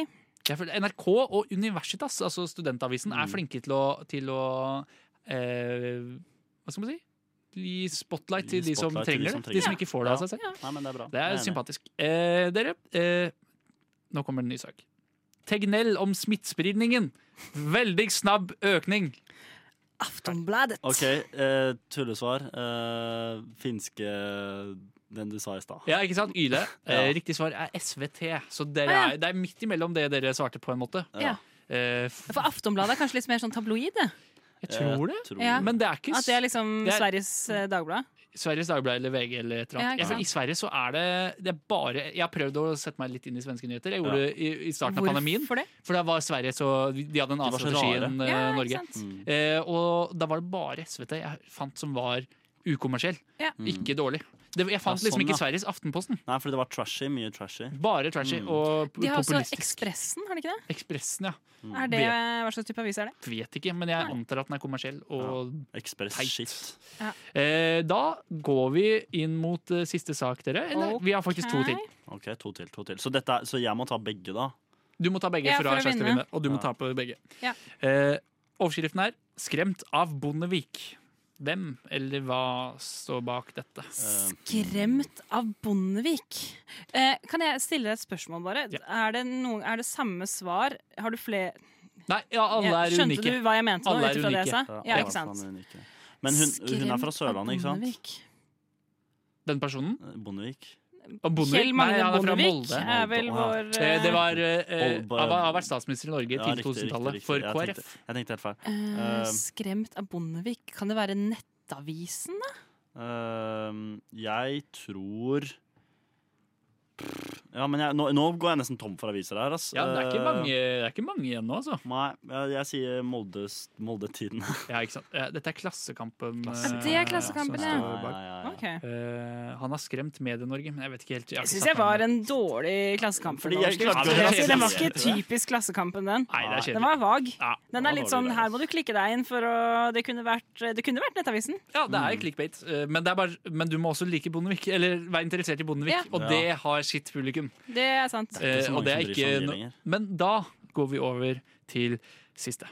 Jeg føler NRK og Universitas, altså studentavisen, Mm. er flinke til å, til å eh, Hva skal man si? Gi spotlight til Gi de som spotlight til de trenger som det. trenger De som det. ikke får det av Ja. seg selv. Nei, men det er bra. Det Jeg er enig. sympatisk. Eh, dere, eh, nå kommer en ny sak. Tegnell om smittespridningen. Veldig snabb økning. Aftonbladet. OK, eh, tullesvar. Eh, finske eh, Den du sa i stad. Ja, ikke sant? Yle. Eh, Ja. riktig svar er SVT. Så dere Ah, ja. er, det er midt imellom det dere svarte på, en måte. Ja. Eh, f- For Aftonbladet er kanskje litt mer sånn tabloid, det. jeg Eh, tror det. Ja. Men det er ikke At det er liksom Det er- Sveriges eh, Dagblad. Sveriges Dagblad eller VG eller et eller Ja, ikke annet. Jeg- sant. I Sverige så er det, det er bare Jeg har prøvd å sette meg litt inn i svenske nyheter. Jeg gjorde det i, i starten av pandemien. Hvorfor det? For da var Sverige så De hadde en var annen så strategi rare. enn eh, Ja, Norge. ikke sant? Eh, og da var det bare SVT jeg fant som var ukommersiell. Ja. Ikke dårlig. Det, jeg fant Mm. Ja, liksom sånn, ikke da. Sveriges Aftenposten. Nei, fordi det var trashy. Mye trashy. Bare trashy Mm. og p- De har også populistisk. Mm. Ekspressen, har de ikke det? Ekspressen, ja. Er det hva slags type avis er det? Vet ikke, men jeg antar at den er kommersiell. Og Ekspress Teit. shit. eh, da går vi inn mot eh, siste sak, dere. Eller vi har faktisk to Ok. til. OK, to til. to til Så, dette er, så jeg må ta begge, da? Du må ta begge Ja, for, å ha en sjanse til å vinne, og du må Ja. tape begge. Ja. Eh, overskriften er 'Skremt av Bondevik'. Hvem eller hva står bak dette? Eh, Skremt av Bondevik. Eh, kan jeg stille deg et spørsmål, bare? Ja. Er, det noen, er det samme svar? Har du flere Nei, ja, alle er Skjønte unike. du hva jeg mente nå? Alle er Ut ifra det jeg sa? unike. ja, Ja, alle ikke sammen sant? er unike. Men hun, hun er fra Sørlandet, ikke sant? Den personen? Eh, Bondevik. Og Bondevik? Kjell Magne Nei, han er fra Bondevik Molde. er vel Molde, vår ja. Eh, det eh, var, eh, Molde. han var- han har vært statsminister i Norge Ja, til riktig, riktig, 2000-tallet, riktig. for Jeg KrF. tenkte- Jeg tenkte helt feil. eh, eh, Skremt av Bondevik. Kan det være Nettavisen, da? Ehm, jeg tror Ja, men jeg, nå, nå går jeg nesten tom for aviser her. Ass. Ja, det er ikke Eh, mange, det er ikke mange igjen nå, altså. Nei, jeg, jeg sier Moldes, Moldetiden. Ja, ikke sant? Eh, Dette er Klassekampen. eh, Klassekampen. Det er Klassekampen, som ja. står bak. ja, ja. Ok. Eh, han har skremt Medie-Norge, men jeg vet ikke helt. jeg har ikke Jeg syns satt jeg meg var inn i- en dårlig Klassekampen. Fordi jeg overskrift. klarte å Jeg skulle- Den var rasere ikke det. typisk Klassekampen, den. Nei, det er Den kjedelig. var vag. Ja, Den Ja. er litt dårlig sånn, der, her ass. må du klikke deg inn for å Det kunne vært, det kunne vært Nettavisen. Ja, Mm. det er clickbait, eh, men, det er bare, men du må også like Bondevik, eller være interessert i Bondevik, Ja. og Ja. det har sitt publikum. Det er sant. er ikke så Eh, mange og det er som bryr seg ikke om det no lenger. men da går vi over til siste.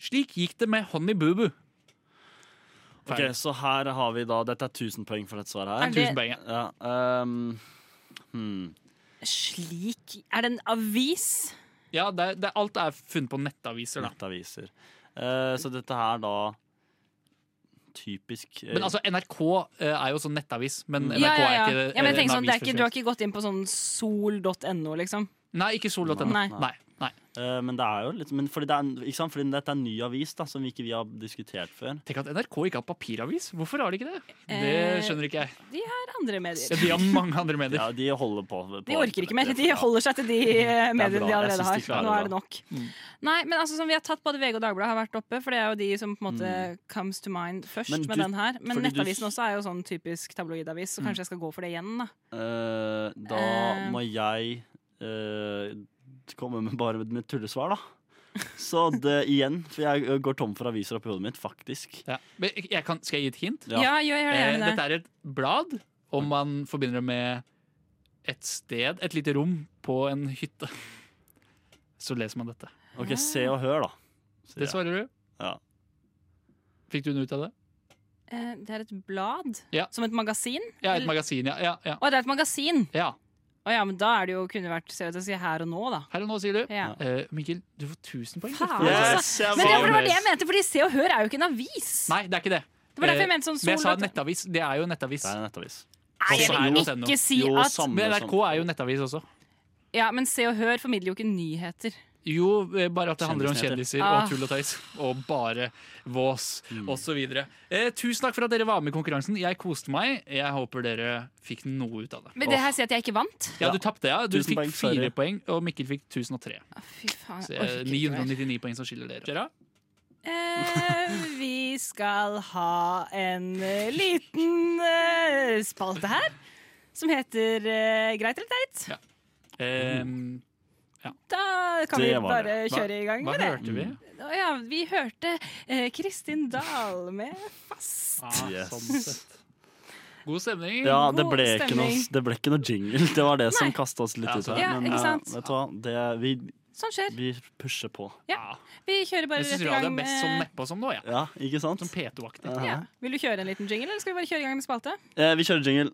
Slik gikk det med Honey Boo Boo. Ok, Så her har vi da Dette er 1000 poeng for dette svaret Er her. det- Tusen poeng. ja. Ja, ehm, hmm. Slik Er det en avis? Ja, det, er- det, er- alt er funnet på nettaviser, da. Nettaviser. Eh, så dette her da Typisk eh, Men altså, NRK eh, er jo sånn nettavis, men NRK Mm. ja, ja, ja. er ikke ja, men jeg eh, en tenker sånn, det er ikke, Du har avisforskjell. ikke gått inn på sånn sol.no, liksom? Nei, ikke sol.no. Nei. Nei. Nei. Nei. eh, Men det er jo litt men fordi, det er, ikke sant? fordi dette er en ny avis da som vi ikke vi har diskutert før. Tenk at NRK ikke har papiravis. Hvorfor har de ikke det? Det Eh, skjønner ikke jeg. De har andre Ja, medier. de har mange andre medier. Ja, De holder på. på De orker ikke mer. De holder seg til de eh, mediene bra. de Jeg allerede synes de har. klarer Nå det er det nok. Nei, men altså sånn, Vi har tatt både VG og Dagbladet har vært oppe, for det er jo de som på en måte comes to mind først Men med du- den her. Men fordi du- Nettavisen også er jo sånn typisk tabloidavis, så kanskje jeg skal gå for det igjen, da. Eh, da Eh. må jeg eh, komme med bare med tullesvar, da. Så det igjen, for jeg går tom for aviser oppi hodet mitt, faktisk. Ja. Men jeg- jeg kan, skal jeg gi et hint? Ja. Ja, gjør gjør Eh, gjerne det. dette er et blad, og man forbinder det med et sted, et lite rom på en hytte. Så leser man dette. OK, se og hør, da. sier Det jeg. svarer du. Ja. Fikk du den ut av det? Eh, Det er et blad? Ja. Som et magasin? Ja, et Eller- magasin, ja. ja, ja. Å, det er et magasin! ja. Å ja, men da er det jo kunne vært ser ut til å si her og nå, da. Her og nå, sier du. Ja. Eh, Mikkel, du får 1000 poeng. Faen, altså. Yes! Yes, jeg Men det var var det var det jeg mente, fordi Se og Hør er jo ikke en avis. Nei, det er ikke det. det var derfor eh, jeg mente sånn Men jeg sa sol. nettavis. Det er jo nettavis. Det er en nettavis. Nei, jeg Også er vil det jo- ikke si Jo, at samme Men som- NRK er jo nettavis også. Ja, men Se og Hør formidler jo ikke nyheter. Jo, eh, bare at det handler om kjendiser Ah. og tull og tøys. Og bare vås, Mm. og osv. Eh, tusen takk for at dere var med i konkurransen. Jeg koste meg. Jeg håper dere fikk noe ut av det. Men det her sier at jeg ikke vant. Ja, du tapte, ja. Du Tusen fikk poeng, fire sorry. poeng, og Mikkel fikk 1003. Å, Fy faen, Ah, Så jeg eh, orker ikke mer. 999 poeng som skiller dere. Kjøra? Eh, vi skal ha en eh, liten eh, spalte her som heter eh, Greit eller teit. Eh, Da kan Det vi var bare Hva- kjøre i gang hva med det. hørte vi? Mm. Å ja, vi hørte eh, Kristin Dahl med Fast. Ah, Yes. sånn sett. God stemning. Ja, det God ble, ikke noe, stemning. det ble ikke noe jingle. Det var det som Nei. kasta oss litt Ja, ut her. Ja, Men ikke eh, sant? vet du hva, det, vi, Sånn skjer. vi pusher på. Ja. Vi kjører bare Jeg syns rett i radio gang er best sånn med nedpå som nå, ja. Ja, ikke sant? Som P2-aktig. Ja. ja. Vil du kjøre en liten jingle, eller skal vi bare kjøre i gang med spalte? Eh, vi kjører jingle.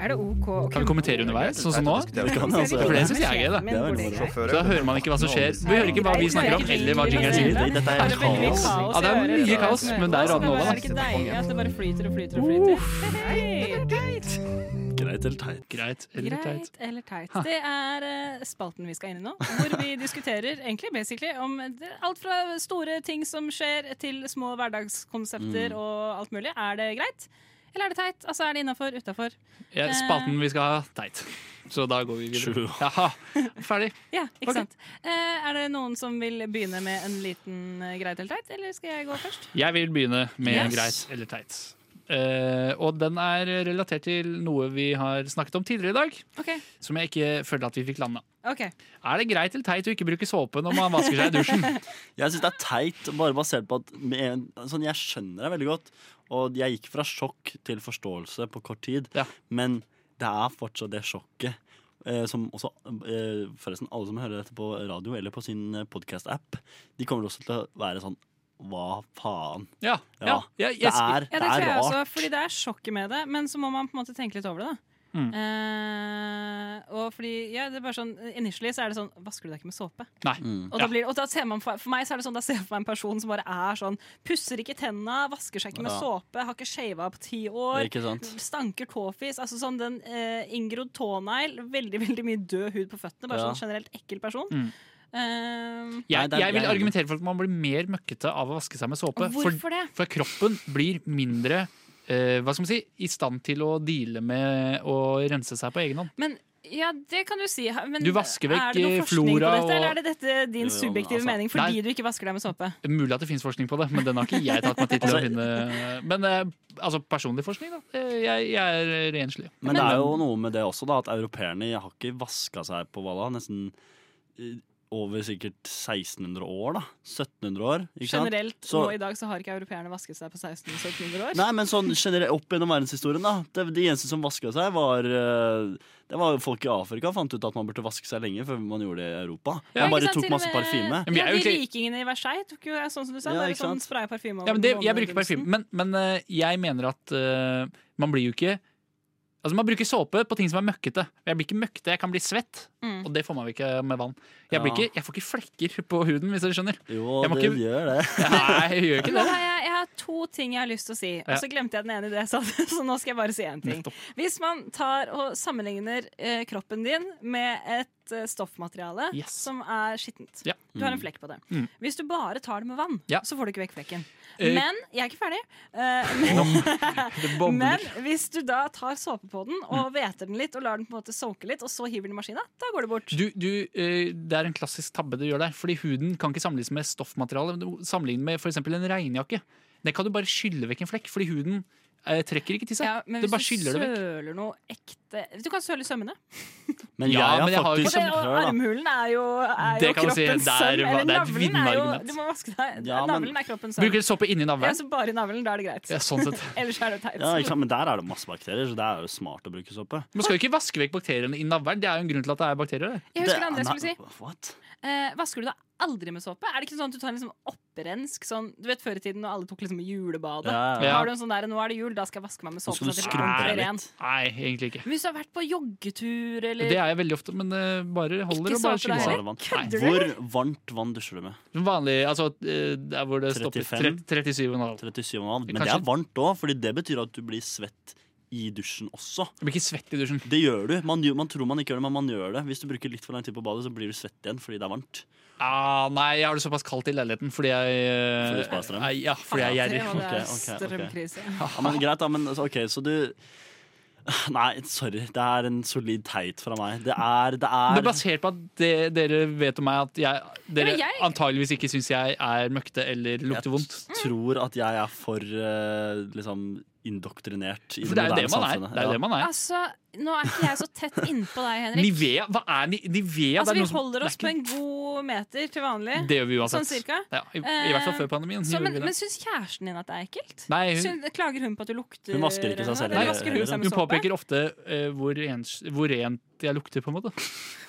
Er det OK å Kan vi kommentere underveis, sånn som nå? Vi kan altså gjøre For det. det syns jeg er gøy, da. Det er veldig Så morsomt. Så da hører man ikke hva som skjer. Vi hører ikke hva vi snakker om, eller hva jingeren sier. Dette er Det er veldig mye kaos. kaos Ja, det er i øret. mye kaos, men det er Radio Nova, da. Er det ikke deilig at det bare flyter og flyter og flyter? Hei. Greit eller teit? Greit eller teit. Greit eller teit. Det er eh, spalten vi skal inn i nå, hvor vi diskuterer egentlig basically om det- alt fra store ting som skjer, til små hverdagskonsepter og alt mulig. Er det greit? Eller er det teit? Altså, er det innafor? Utafor? Ja, spalten vi skal ha, teit. Så da går vi videre. Sure. Jaha, ferdig. Ja, ikke Ok. sant. Eh, er det noen som vil begynne med en liten eh, greit eller teit, eller skal jeg gå først? Jeg vil begynne med Yes. greit eller teit. Eh, og den er relatert til noe vi har snakket om tidligere i dag, OK. som jeg ikke følte at vi fikk landa. ok Er det greit eller teit å ikke bruke såpe når man vasker seg i dusjen? Jeg syns det er teit, bare basert på at med en, sånn, Jeg skjønner det veldig godt, og jeg gikk fra sjokk til forståelse på kort tid, Ja. men det er fortsatt det sjokket. Eh, som også, eh, forresten, alle som hører dette på radio eller på sin podkast-app, de kommer også til å være sånn Hva faen? Ja, Ja, ja, ja, Det jeg, er, det Ja, det er tror jeg også, rart. fordi det er sjokket med det, men så må man på en måte tenke litt over det, da. Mm. Eh, og fordi, ja, det er bare sånn Initially så er det sånn Vasker du deg ikke med såpe? Nei. Og, da Ja. blir, og da ser man for, for meg så er det sånn Da ser jeg for meg en person som bare er sånn Pusser ikke tenna, vasker seg ikke med Ja. såpe, har ikke shava på ti år, Ikke sant? stanker tåfis Altså sånn den eh, inngrodd tånegl, veldig veldig mye død hud på føttene, bare Ja. sånn generelt ekkel person. Mm. Eh, Nei, Jeg, det er- jeg vil jeg er enig. argumentere for at man blir mer møkkete av å vaske seg med såpe. For, hvorfor det? for kroppen blir mindre eh, hva skal man si, i stand til å deale med å rense seg på egen hånd. Men ja, det kan du si. ha- Men Du vasker er det noe vekk, eh, forskning på flora dette, og- Eller er det dette Jo, jo, din men subjektive altså- mening fordi Nei. du ikke vasker deg med såpe? Mulig at det finnes forskning på det, men den har ikke jeg tatt meg tid til å Altså- finne. Men eh, altså, personlig forskning, da. Eh, Jeg, jeg er renslig. Men det er jo noe med det også, da, at europeerne har ikke vaska seg på hva da? Nesten eh, over sikkert 1600 år, da. 1700 år. Ikke sant? Generelt, Så- nå i dag så har ikke europeerne vasket seg på 1600-1700 år. Nei, men sånn generelt opp gjennom verdenshistorien, da. Det, de eneste som vaska seg, var eh, Det var folk i Afrika fant ut at man burde vaske seg lenge før man gjorde det i Europa. Ja, Man ikke bare sant, tok til og masse med- parfyme. Ja, men jeg Ja, er jo de ikke- rikingene i Versailles tok jo sånn som du sa, Ja, bare ikke sånn sant? spraya parfyme over Ja, men det, jeg månedene bruker og dunsen. parfyme, men, men eh, jeg mener at eh, man blir jo ikke Altså Man bruker såpe på ting som er møkkete. Jeg blir ikke møkkete, jeg kan bli svett. Mm. Og det får man vel ikke med vann. Jeg, blir Ja. ikke, jeg får ikke flekker på huden, hvis dere skjønner. Jo, Jeg må det ikke- gjør det. Nei, jeg gjør ikke Nå det. har jeg, jeg har to ting jeg har lyst til å si, og så glemte jeg den ene i det jeg sa. Så nå skal jeg bare si én ting. Nettopp. Hvis man tar og sammenligner eh, kroppen din med et eh, stoffmateriale Yes. som er skittent Ja. Du har en flekk på det. Mm. Hvis du bare tar det med vann, Ja. så får du ikke vekk flekken. Eh, Men jeg er ikke ferdig. Eh, Det men, bobler. men hvis du da tar såpe på den Mm. og hveter den litt og lar den på en måte soake litt, og så hiver den i maskina, da går det bort. Du, du, eh, det er en klassisk tabbe du gjør der. Fordi huden kan ikke sammenlignes med stoffmateriale. men du- Sammenlignet med f.eks. en regnjakke. Den kan du bare skylle vekk en flekk, fordi huden eh, trekker ikke til seg. Ja, men du hvis bare du skyller det vekk. søler noe ekte Du kan søle i sømmene. Men Ja, jeg men jeg har har Og, jo faktisk det, og Hør da. armhulen er jo, er Det jo kan man kroppens si, det er- søm. Eller det er et navlen er jo vinnargument. Du må vaske deg. Ja, men- navlen er kroppens søm. Bruker såpe sånn. inni Ja, navlen. så bare i navlen, da er det greit. Ja, sånn sett. Ellers er det teit. Ja, ikke sant? Men der er det masse bakterier, så det er jo smart å bruke såpe. Man skal jo ikke vaske vekk bakteriene i navlen. Det er jo en grunn til at det er bakterier der. Jeg husker det andre jeg skulle si. What? Eh, vasker du deg aldri med såpe? Er det ikke sånn at du tar en liksom opprensk sånn Du vet før i tiden når alle tok liksom julebadet? Ja, ja. Har du en sånn der 'nå er det jul, da skal jeg vaske meg med Nå såpe'? skal du sånn at jeg skrumpe blir deg ren. Nei, egentlig ikke. Men hvis du har vært på joggetur eller Det er jeg veldig ofte, men eh, bare holder Ikke og bare såpe deg skyller seg. heller. Bare vann. Kødder du? Hvor varmt vann dusjer du med? Som Vanlig, altså eh, der hvor det stopper 35. 37,5. 37,5. Men det Kanskje- er varmt òg, Fordi det betyr at du blir svett i dusjen også. Jeg blir ikke svett i dusjen. Det gjør du. Man, gjør- man tror man ikke gjør det, men man gjør det. Hvis du bruker litt for lang tid på badet, så blir du svett igjen fordi det er varmt. Ah, nei, jeg har det såpass kaldt i leiligheten fordi jeg eh, Fordi du sparer strøm? Nei, Ja, fordi jeg er Det gjerrig. var det Ok, ok, ok. strømkrise. Ja, men greit, da. Men altså, OK, så du Nei, sorry. Det er en solid teit fra meg. Det er Det Det er, er basert på at det, dere vet om meg at jeg, dere Ja, men jeg- antageligvis ikke syns jeg er møkte eller lukter vondt. Jeg tror at jeg er for eh, liksom indoktrinert i det, For det er moderne jo det man er. samfunnet. Det er jo det man er. Altså, nå er ikke jeg så tett innpå deg, Henrik. Nivea, hva er ni- Nivea? Altså, det vi er noe som- holder oss det på er en god meter til vanlig. ikke- Det gjør vi uansett. Sånn cirka. Eh, Ja, i, I hvert fall før pandemien. Så, gjorde men vi det. men syns kjæresten din at det er ekkelt? Nei, hun- Syn- klager hun på at du lukter Hun vasker ikke seg eller selv noe? Eller heller. vasker hun seg Hun med såpe? påpeker ofte eh, hvor, rens, hvor rent jeg lukter, på en måte.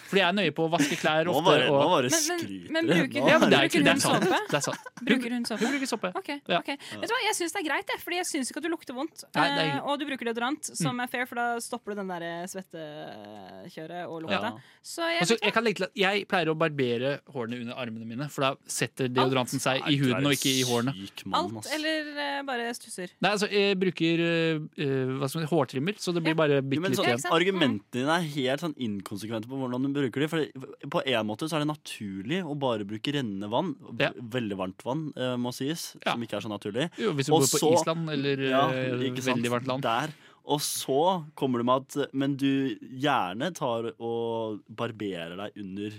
Fordi jeg er nøye på å vaske klær Nå ofte. bare, nå og, bare Men- men- skryter men du. bruker- Nå ja, men det er, Bruker ikke- det hun sånn- er sant. såpe? Det er sant. Bruker hun såpe? Hun bruker såpe. Ok, Ja. ok. Vet du hva, Jeg syns det er greit, jeg, Fordi jeg syns ikke at du lukter vondt. Nei, det er Mm. Eh, og du bruker deodorant, som er fair, for da stopper du den der eh, svettekjøret og lukta. Ja. Så jeg, Altså, jeg, kan legge til at jeg pleier å barbere hårene under armene mine, for da setter deodoranten seg i huden og ikke i hårene. Syk mann, alt, ass. eller eh, bare stusser. Nei, altså, jeg bruker eh, eh, hva som heter, hårtrimmer, så det blir bare Jo, bitte men litt sånn, igjen. ikke sant? argumentene dine er helt sånn inkonsekvente på hvordan du bruker dem. Fordi på en måte så er det naturlig å bare bruke rennende vann. v- Ja. Veldig varmt vann, eh, må sies, Ja. som ikke er så naturlig. Jo, Hvis du Og bor på så- Island eller Ja, eh, ikke sant? veldig varmt land. Der. Og så kommer du med at eh, Men du gjerne tar og barberer deg under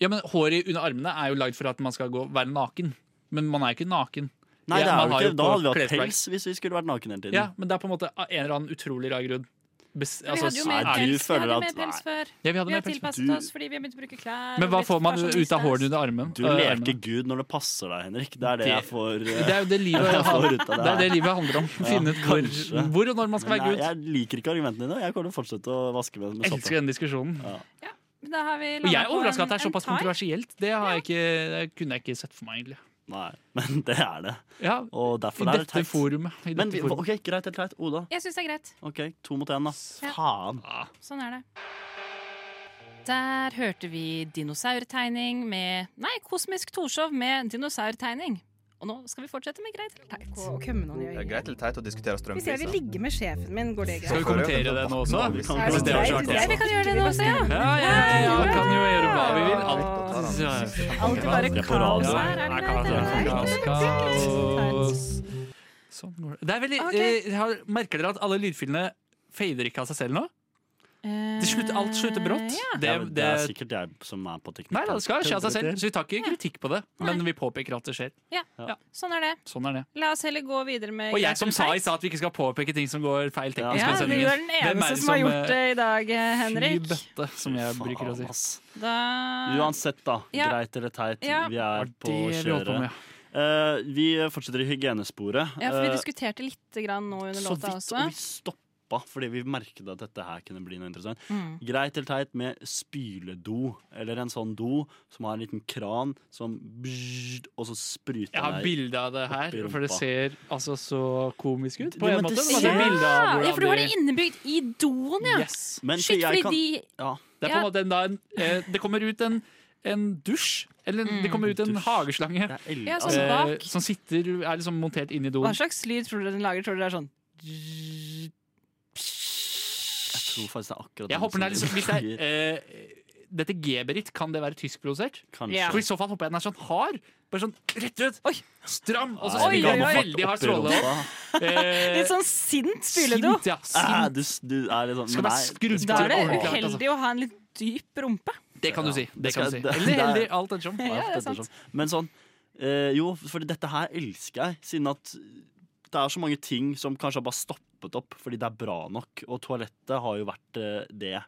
Ja, men Håret under armene er jo lagd for at man skal gå, være naken, men man er ikke naken. Nei, Ja, det er man jo har ikke, jo da på hadde vi hatt klesplagg. pels hvis vi skulle vært naken hele tiden. Ja, men det er på en måte av en eller annen utrolig rar grunn. Bes- Vi hadde jo altså, mer nei, du pels, vi føler hadde jo at- mer pels før. ja, vi hadde Vi mer har pels. tilpasset Du- oss fordi vi har begynt å bruke klær. Men hva blitt får man pensjonister. ut av hårene under armen? Du øh, leker armene? Gud når det passer deg, Henrik. Det er det Det- jeg får eh, Det er jo det livet, jeg får ut av det, er det her. livet handler om. Finne ut hvor, kanskje. hvor og når man skal Men være nei, Gud. jeg liker ikke argumentene dine. Jeg kommer til å fortsette å vaske med med Jeg elsker såpe. den diskusjonen. Men Da har vi Og jeg landet er på overraska at det er en- en såpass tie. kontroversielt. Det, har jeg ikke, det kunne jeg ikke sett for meg, egentlig. Nei, men det er det. Ja, Og I derfor er det dette teit. forumet. I Men dette vi, forumet. ok, greit, helt greit. Oda. Jeg syns det er greit. Ok, To mot én, da. Ja. Faen. Ah. Sånn er det. Der hørte vi dinosaurtegning med Nei, Kosmisk Torshov med dinosaurtegning. Og nå skal vi fortsette med greit eller teit. Det er greit eller teit å diskutere Hvis jeg vil strømpriser. ligge med sjefen min, går det greit? Skal vi kommentere det nå også? Er det Kan greit? kommentere så hardt Det Ja, er vi også. kan gjøre det nå også, ja. Ja, ja, ja, ja, vi kan jo gjøre hva vi vil. Alt. Ja, Alltid bare Det er på altså. kaos radio. her. er det ja, greit, kaos, eller ja, teit? kaos, kaos. Sånn går det. Det er veldig, Ok. eh, har- merker dere at alle lydfilene fader ikke av seg selv nå? Det slutter, alt slutter brått. Eh, Ja. Det, ja, men det det, er sikkert jeg som er på teknikk. nei da, det skal skje av seg selv, så vi tar ikke kritikk på det. Men vi påpeker at det skjer. Sånn er det. Sånn er det. La oss heller gå videre med Og jeg som sa i Greit eller stad at vi ikke skal påpeke ting som går feil teknisk. feil. i Ja, sendingen. du er den Hvem er eneste det som har gjort eh, det i dag, eh, Fy Henrik. bøtte, som jeg Faen, bruker å si. ass. Da Uansett, da. Ja. Greit eller teit, Ja. vi er Det på er det vi holder på kjøret. med. Eh, vi fortsetter i hygienesporet. Ja, for vi Eh, diskuterte litt grann nå under så vidt, låta også. og vi stoppa fordi vi merket at dette her kunne bli noe interessant. Mm. Greit eller teit med spyledo, eller en sånn do som har en liten kran som bzzzt, Og så spruter Jeg har den der. bilde av det her, Oppi rumpa. for det ser altså så komisk ut. På Det- en men måte. det Det ser- er bilde av Ja, hvordan for du har de- det innebygd i doen, ja. Yes. Men så Shit, jeg fordi kan- de ja, Det er på en Ja. måte en, da en, eh, det kommer ut en, en dusj, eller en- det kommer ut en Dusj. hageslange jeg elsker Mm. Ja, sånn altså, eh, bak. som sitter, er liksom montert inn i Hva doen. slags lyd tror dere den lager? Tror dere det er sånn Jeg tror faktisk det er akkurat Jeg håper den er som liksom, hvis det er eh, Dette geberitt, kan det være tyskprodusert? Kanskje. Ja. For i så fall håper jeg den er sånn hard. Bare sånn rett ut, Oi. stram, og så Nei, spiller den oi, oi. veldig hard oppi stråle. rumpa. Eh, Litt sånn sint spyledo? Sint, ja. Ah, Sint. du, s- du er litt sånn Skal være skrudd Da er det ordentlig klart, altså. uheldig å ha en litt dyp rumpe. Det kan du si. Det Det skal- kan du si. det- Eller det er- heldig, alt ettersom. Ja, det er sant. Men sånn eh, Jo, for dette her elsker jeg, siden at det er så mange ting som kanskje har bare stoppet opp fordi det er bra nok. Og toalettet har jo vært eh, det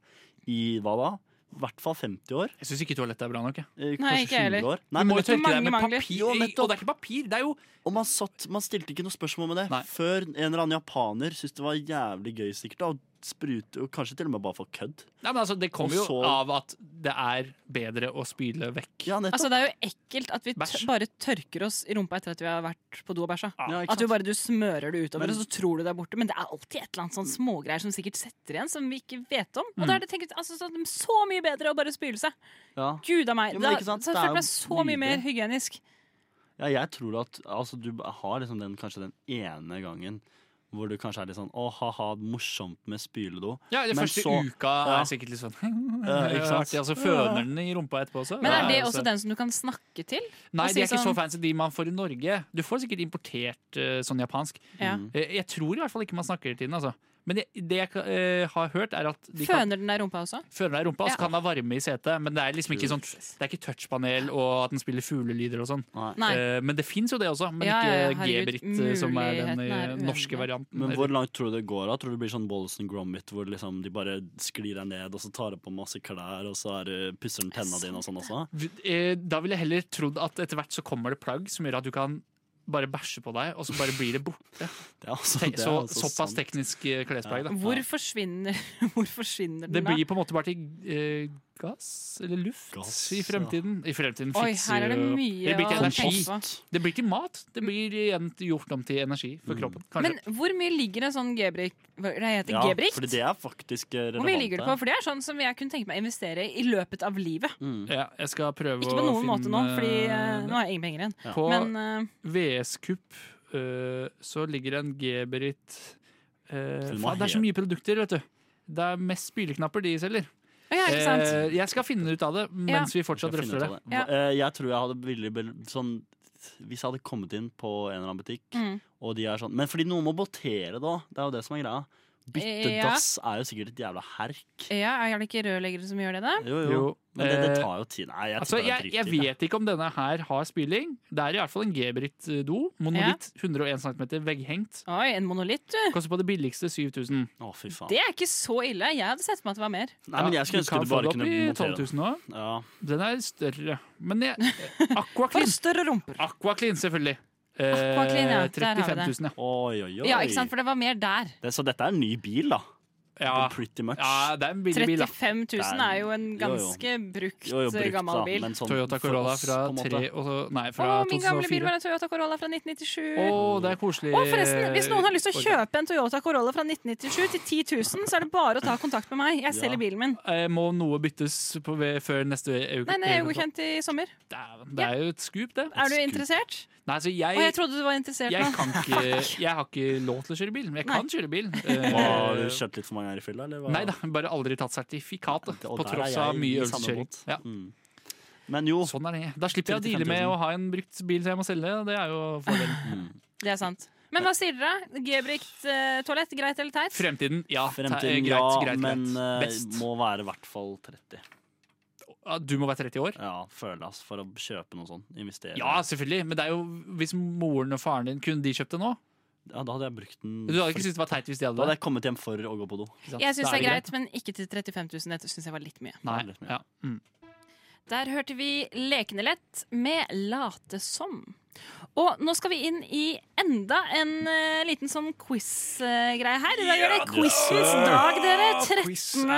i hva da? I hvert fall 50 år. Jeg syns ikke toalettet er bra nok. jeg. eh, Nei, kanskje ikke 20 jeg heller. år. Nei, du må men, jo tørke mange deg med mangler. papir. Jo, Og nettopp. det er ikke papir, det er jo og man, satt, man stilte ikke noe spørsmål med det Nei. før en eller annen japaner syntes det var jævlig gøy sikkert da, å sprute, og kanskje til og med bare for kødd. Nei, men altså, Det Og kommer jo så- av at det er bedre å spyle vekk. Ja, nettopp. Altså, det er jo ekkelt at vi tør- Bæsj. bare tørker oss i rumpa etter at vi har vært på do og bæsja. Ah. Ja, ikke At du sant? bare du smører det utover, Men- og så tror du det er borte. Men det er alltid et eller annet sånn smågreier som sikkert setter igjen, som vi ikke vet om. Og Mm. da er det tenkt, altså, så, så mye bedre å bare spyle seg. Ja. Gud av meg. Jo, Ja, men ikke sant? så Det jeg er føler meg jo så mye mer hygienisk. Ja, jeg tror at altså, du har liksom den, kanskje den ene gangen hvor du kanskje er litt sånn å, ha-ha, morsomt med spyledo. Ja, det Men Første så- uka ja. er sikkert litt sånn ikke sant? artig. Og så føner den i rumpa etterpå også. Men er Ja, det altså. også den som du kan snakke til? Nei, å si de er ikke sånn- så fancy, de man får i Norge. Du får sikkert importert eh, sånn japansk. Mm. Ja. Eh, Jeg tror i hvert fall ikke man snakker til den. altså Men det, det jeg kan- eh, har hørt, er at de kan Føner den der rumpa også? føne deg i rumpa, og så Ja. kan det ha varme i setet. Men det er liksom ikke sånn Det er ikke touchpanel og at den spiller fuglelyder og sånn. Nei. Eh, Men det fins jo det også, men Ja, ja, ikke herregud, G-Britt, eh, som er den eh, muligheten er norske uendelig. varianten. Men hvor langt tror du det går? da? Tror du det blir sånn Wallace and Gromit, hvor liksom de bare sklir deg ned, og så tar de på masse klær, og så er, det- pusser de tennene dine og sånn også? Eh, Da ville jeg heller trodd at etter hvert så kommer det plagg som gjør at du kan bare bæsje på deg, og så bare blir det borte. Det er altså, Tenk, det er så, altså sant. såpass teknisk eh, klesplagg, da. Hvor forsvinner, hvor forsvinner Det den da? blir på en måte bare til eh, gass eller luft Gass, i fremtiden. I fremtiden Oi, fikser her er det jo- mye Det blir til å energi. tenke på. Det blir ikke mat. Det blir igjen gjort om til energi Mm. for kroppen. Kanskje. Men hvor mye ligger en sånn Gebrikt Hva det heter Ja, Gebrikt? fordi det er faktisk eh, relevant. Hvor mye ligger det på? der. For det er sånn som jeg kunne tenke meg å investere i løpet av livet. Mm. ja, jeg skal prøve Ikke på å noen finne måte nå, fordi eh, nå har jeg ingen penger igjen. Ja. På Men eh, VS-kupp eh, så ligger det en Geberit eh, du må faen, Det er så he- mye produkter, vet du. Det er mest spyleknapper de selger. ja, ikke sant? Eh, jeg skal finne ut av det mens vi fortsatt Jeg finner drøfter ut det. av Hva- eh, Jeg tror jeg hadde ville bel- sånn Hvis jeg hadde kommet inn på en eller annen butikk, Mm. og de er sånn Men fordi noen må botere, da. Det er jo det som er greia. Bytte Ja. dass er jo sikkert et jævla herk. Ja, Er det ikke rørleggere som gjør det, da? Jo, jo. Jo, Men det, det eh, tar jo tid. Nei, jeg, Altså, tipper det er jeg, jeg drittid, jeg. vet ikke om denne her har spyling. Det er i hvert fall en Geberit-do. Monolitt 101 cm vegghengt. Oi, en monolitt, du. Koster på det billigste 7000. Å, fy faen. Det er ikke så ille. Jeg hadde sett for meg at det var mer. Nei, men jeg skulle ønske du bare kunne Du kan få det montere opp i 12 000 også. den. Ja. Den er større. Men jeg, For Aquaclean. større rumper. Aquaclean, selvfølgelig. Eh, Aquaclean, ja. Der har vi det. 35 000, ja. Oi, oi, oi. Ja, ikke sant? For det var mer der. det, så dette er en ny bil, da. Ja. Pretty much. ja, det er en billig bil, da. 35 000 er jo en jo, jo. ganske brukt, eh, Jo, jo, brukt, gammel da, bil. men sånn Toyota for Corolla oss, fra, på en måte. tre, og, nei, Å, fra min gamle bil 2004. var en Toyota Corolla fra 1997. Å, det er koselig. Og forresten, Hvis noen har lyst til å Organ. kjøpe en Toyota Corolla fra 1997 til 10 000, så er det bare å ta kontakt med meg. Jeg selger Ja. bilen min. Eh, Må noe byttes på, ved, før neste uke? Nei, den er jo godkjent i sommer. Dæven, Det er jo et skup, det. Er du interessert? Nei, altså, Å, jeg jeg, trodde du var interessert jeg, nå. kan ikke, jeg har ikke lov til å kjøre bil, men jeg kan Nei. kjøre bil. Hva, Har du Eh, kjørt litt for mange ganger i fylla, eller? hva? Nei da, bare aldri tatt sertifikatet. Og På der er tross jeg av i samme mye øvelseskjøring. båt. Ja, Mm. Men jo, sånn er det. Da slipper jeg å 35 000. deale med å ha en brukt bil som jeg må selge. Det er jo fordelen. Det er sant. Men hva sier dere? G-brikt eh, toalett, greit eller teit? Fremtiden, ja. te- Fremtiden, greit, ja, greit, greit. men eh, Best. må være i hvert fall 30. Ja, Du må være 30 år? Ja, føler jeg, for å kjøpe noe sånt. Investere. Ja, selvfølgelig. Men det er jo hvis moren og faren din kunne de kjøpt det nå? Ja, da hadde jeg brukt den. Du hadde ikke syntes det var teit hvis de hadde Da hadde det? jeg kommet hjem for å gå på do. ikke sant? Jeg syns Da det er greit, men ikke til 35 000. Det syns jeg var litt mye. Nei. Det er litt mye. Ja. Mm. Der hørte vi Lekende lett med Late som. Og nå skal vi inn i enda en eh, liten sånn quiz-greie her. I dag er det quizens dag, dere. 13.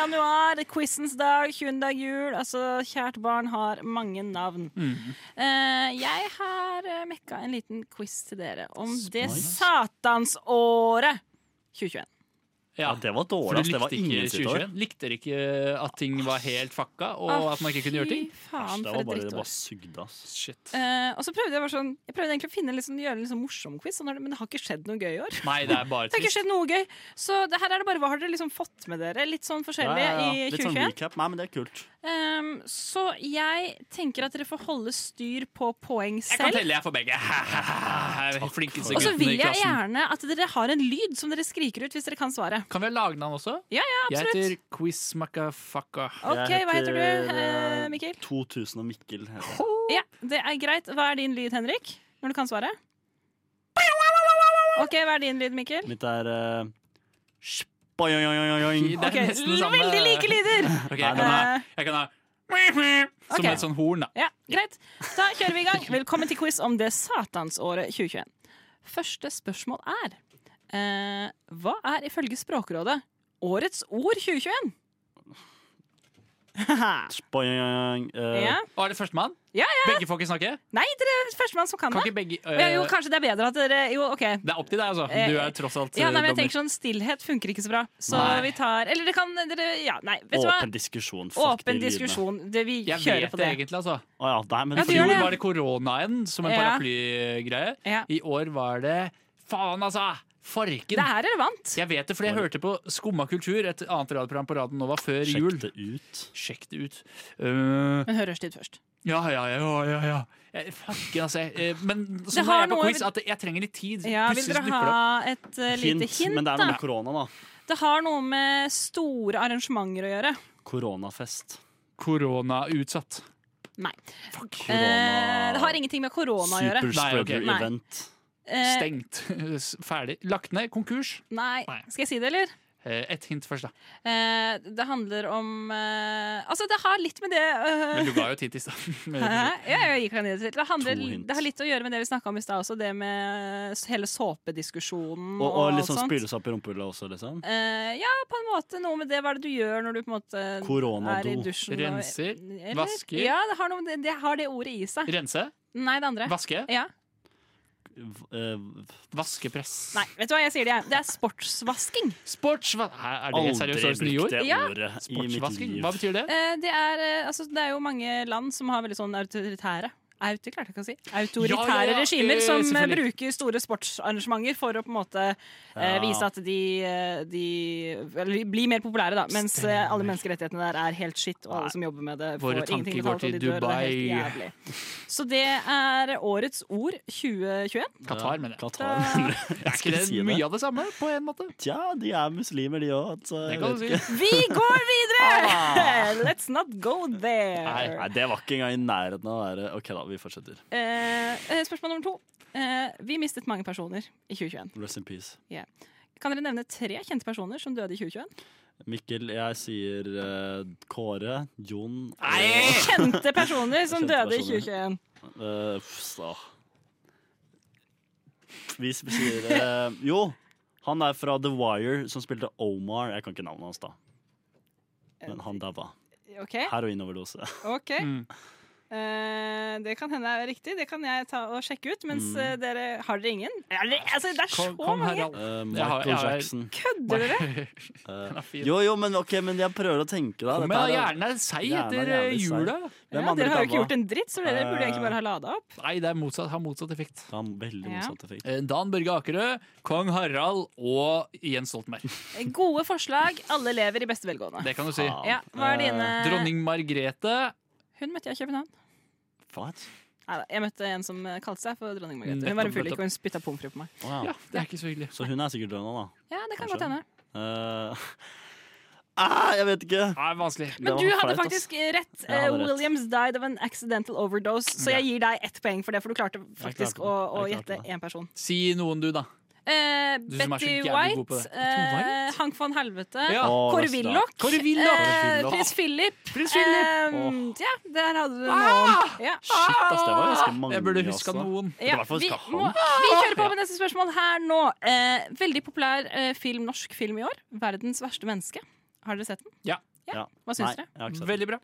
januar, quizens dag, 20. dag jul. Altså, kjært barn har mange navn. Mm. Eh, jeg har eh, mekka en liten quiz til dere om det satansåret 2021. Ja. Ja, det var For dårlig. du ass. Det var likte ikke ingen sitt år. 2021? Likte dere ikke at ting var helt fucka, og Å, at man ikke kunne gjøre ting? Fy Æsj, faen, det for var et bare, det drittår. bare sugde, ass. Shit. Eh, og så prøvde jeg bare sånn Jeg prøvde egentlig å finne liksom, gjøre en liksom morsom quiz, sånn, har det- men det har ikke skjedd noe gøy i år. Det Nei, det er bare har ikke trist. skjedd noe gøy Så det, her er det bare hva har dere liksom fått med dere? Litt sånn forskjellig i Litt sånn 2021. recap. Nei, men det er kult. Ehm, så jeg tenker at dere får holde styr på poeng Jeg kan selv. telle, jeg, for begge. Jeg er den Flinkeste Og så gutten i vil jeg klassen. gjerne at dere har en lyd som dere skriker ut hvis dere kan svaret. Kan vi ha lagnavn også? Ja, ja, Jeg absolutt. heter Quiz Macafakka. OK, Jeg hva heter du, eh, eh, Mikkel? 2000 og Mikkel. heter jeg. Ja, det er greit. Hva er din lyd, Henrik? Når du kan svaret? OK, hva er din lyd, Mikkel? Mitt er eh, spoing. Det er Ok, nesten det samme. Veldig like lyder! Ok, jeg kan ha, Eh. jeg kan ha som Ok. et sånn horn, da. Ja, greit. Da kjører vi i gang. Velkommen til quiz om det satansåret 2021. Første spørsmål er eh, Hva er ifølge Språkrådet årets ord 2021? Haha. Spoing. ja. Og er det førstemann? Ja, Begge får ikke snakke? Nei, dere er førstemann som kan Kan det. ikke begge Ja, eh, jo, kanskje det er bedre at dere Jo, OK. Det er opp til deg, altså. Du er tross alt Ja, eh, nei, men jeg dommer. tenker sånn Stillhet funker ikke så bra, så Nei. vi tar Eller det kan dere Ja, nei, vet du hva? Åpen diskusjon. Fuck de Åpen lydene. diskusjon. Det, vi Jeg kjører vet på det det. egentlig, altså. Å ja, nei, men Ja, I gjør fjor det. var det koronaen som en Ja. paraplygreie. Ja. I år var det Faen, altså! Farken! Det er relevant. Jeg vet det, fordi jeg hørte på Skumma kultur, et annet radioprogram på Radio Nova før Sjekk jul. det ut. Sjekk det ut. Eh, Men hør Rushtid først. ja, ja, ja, ja, ja, ja. Eh, Fucken, altså. eh, Men Det sånn har er jeg på noe- quiz, at jeg trenger litt tid. Ja, Vil Plutselig dere så dukker ha det opp. et eh, Hint, lite hint, men det er da? noe med korona, da. Det har noe med store arrangementer å gjøre. Koronafest. Koronautsatt. Nei. Fuck. Eh, det har ingenting med korona å gjøre. Superspreader Nei, ok. event. Eh, Stengt. Ferdig. Lagt ned. Konkurs. nei. Nei. Skal jeg si det, eller? Eh, Ett hint først, da. Eh, det handler om eh, Altså, det har litt med det Men eh, du ga jo et hint i stad. Hæ? Ja, jeg gikk ned til. Det, handler, To hint. det har litt å gjøre med det vi snakka om i stad også, det med s- hele såpediskusjonen Og, og alt liksom sånt. spyles opp i rumpehullet også, liksom. Eh, ja, på en måte noe med det. Hva er det du gjør når du på en måte er i Koronado. dusjen? og- Renser, Eller? vasker. Ja, det har, noe med det, det har det ordet i seg. Rense. Nei, det andre. Vaske. Ja. V- eh, Vaskepress. Nei, vet du hva jeg sier det? jeg. Det er sportsvasking. Sportsva... Hæ, Er det Aldri seriøst brukt årets nye ord? det Ja. ordet i mitt Sportsvasking? liv. Hva betyr det? Eh, Det er, eh, altså, det er jo mange land som har veldig sånn autoritære Auti, klarte jeg ikke å si. Autoritære Ja, ja, ja. regimer Eh, som eh, selvfølgelig. bruker store sportsarrangementer for å på en måte eh, Ja. vise at de, eh, de Eller blir mer populære, da. Mens eh, alle menneskerettighetene der er helt shit, og alle som jobber med det, Våre får ingenting tanker går betalt, og de til dør. og Det er Dubai. helt jævlig. Så det er årets ord 2021. Qatar, mener jeg. Qatar, mener jeg. Er ikke det mye av det samme, på en måte? Tja, de er muslimer, de òg. Altså, Det jeg kan vet du si. ikke. Vi går Ah. videre! Let's not go there. Nei, det var ikke engang i nærheten av å være OK, da. Vi fortsetter. Eh, eh, spørsmål nummer to. Eh, vi mistet mange personer i 2021. Rest in peace. Kan dere nevne tre kjente personer som døde i 2021? Mikkel, jeg sier eh, Kåre, Jon og Kjente personer som Kjente døde i personer. 2021. eh, pff, da. Vi sp- sier eh, Jo, han er fra The Wire, som spilte Omar. Jeg kan ikke navnet hans, da. Men han daua. OK. Heroinoverdose. ok Mm. Eh, Det kan hende er riktig. Det kan jeg ta og sjekke ut. Mens eh, dere Har dere ingen? Ja, det, altså, det er så Kom, kom mange! Harald. Eh, Jeg har- Michael jeg har- Jackson. Kødder dere? Eh, er fin. jo, jo, men ok, men jeg prøver å tenke, da. Kom Dette igjen, er- hjernen er seig Hjernen er etter eh, jævlig seig. jula. Hvem Ja, andre dere har jo ikke daua? gjort en dritt, så dere burde egentlig bare ha lada opp. Nei, det er motsatt, har motsatt effekt. Det var veldig Ja. motsatt effekt. Eh, Dan Børge Akerø, kong Harald og Jens Stoltenberg. Eh, Gode forslag. Alle lever i beste velgående. Det kan du si. Ah. Faen. Eh, Ja, hva er dine Dronning Margrethe Hun møtte jeg i København. Hva? Neida, Jeg møtte en som eh, kalte seg for dronning Margrethe. Nettopp, Hun var en nettopp. fyllik, og hun spytta pommes frites på meg. Å, ja. Ja, det er ikke så hyggelig. Så hun er sikkert død nå, da. Ja, det kan Kanskje. godt hende. Eh, ah, jeg vet ikke. Nei, vanskelig. Det Men var du hadde flaut, ass. faktisk eh, rett. Jeg hadde Eh, rett. Williams died of an accidental overdose, så jeg gir deg ett poeng for det, for du klarte faktisk klarte det. å, å Jeg klarte gjette det. én person. Si noen, du, da. Eh, Du som er så Betty jævlig god på White. det. Betty Eh, White? Hank von Helvete. Ja. Å, Kåre nesten, ja. Willoch. Kåre Willoch. Eh, Willoch. Prins Philip. Prins Philip! Eh, ja, der hadde du Ah! noen. Ja. Shit, ass, det var ganske mange. Jeg burde huska altså. noen. Ja, hvert fall vi, skal han. Ah! må, vi kjører på med neste spørsmål her nå. Eh, veldig populær eh, film, norsk film i år. 'Verdens verste menneske'. Har dere sett den? Ja. Ja. Hva Nei, syns dere? jeg har ikke sett det. Veldig bra.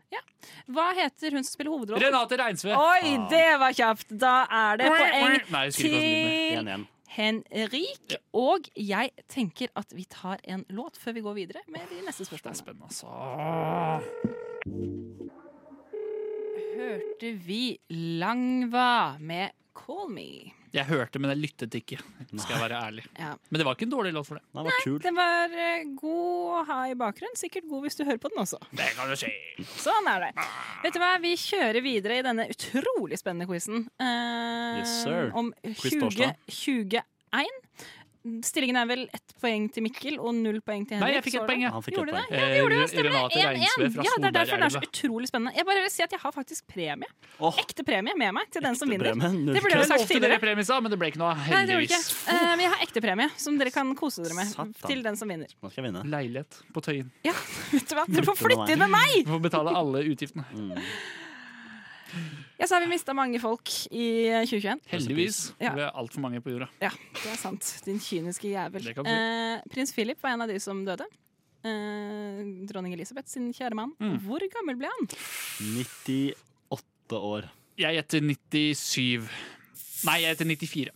Hva heter hun som spiller hovedrollen? Renate Reinsve. Oi, det var kjapt! Da er det poeng Nei, jeg husker ikke hva som ligner. til 1-1. Henrik. Og jeg tenker at vi tar en låt før vi går videre med de neste Det er spørsmålene. spennende, altså. Hørte vi Langva med 'Call Me'? Jeg hørte, men jeg lyttet ikke. Skal jeg være ærlig. Ja. Men det var ikke en dårlig låt for det. Den var kul. Den var eh, god å ha i bakgrunnen. Sikkert god hvis du hører på den også. Det kan jo skje. Sånn er det. Vet du hva, vi kjører videre i denne utrolig spennende quizen. eh, Yes, sir. Om Quiz torsdag. 2021. Stillingen er vel ett poeng til Mikkel og null poeng til Nei, Henrik. jeg fikk så langt. et poeng, jeg. Han fikk Gjorde et det? poeng. Ja, det gjorde det. Eh, Stemmer. Renate 1-1. Reinsve fra Ja, det er derfor det er så Solbergelva. utrolig spennende. Jeg bare vil si at jeg har faktisk premie. Åh, Ekte premie med meg til den som vinner. Bremen, null Det burde kø. jeg Jeg sagt lovte dere tidligere. premie i stad, men det ble ikke noe av, Nei, det gjorde jeg heldigvis. ikke. Eh, Men jeg har ekte premie som dere kan kose dere med. Satan. Til den som vinner. Nå skal jeg vinne. Leilighet på Tøyen. Ja, vet du hva? Dere får Flytte med flytte inn med meg! Vi får betale alle utgiftene. Ja, så har vi mista mange folk i eh, 2021. Heldigvis. Ja. Vi er altfor mange på jorda. Ja, det er sant. Din kyniske jævel. Det kan du si. Eh, Prins Philip var en av de som døde. Eh, dronning Elisabeth sin kjære mann. Mm. Hvor gammel ble han? 98 år. Jeg gjetter 97. Nei, jeg gjetter 94.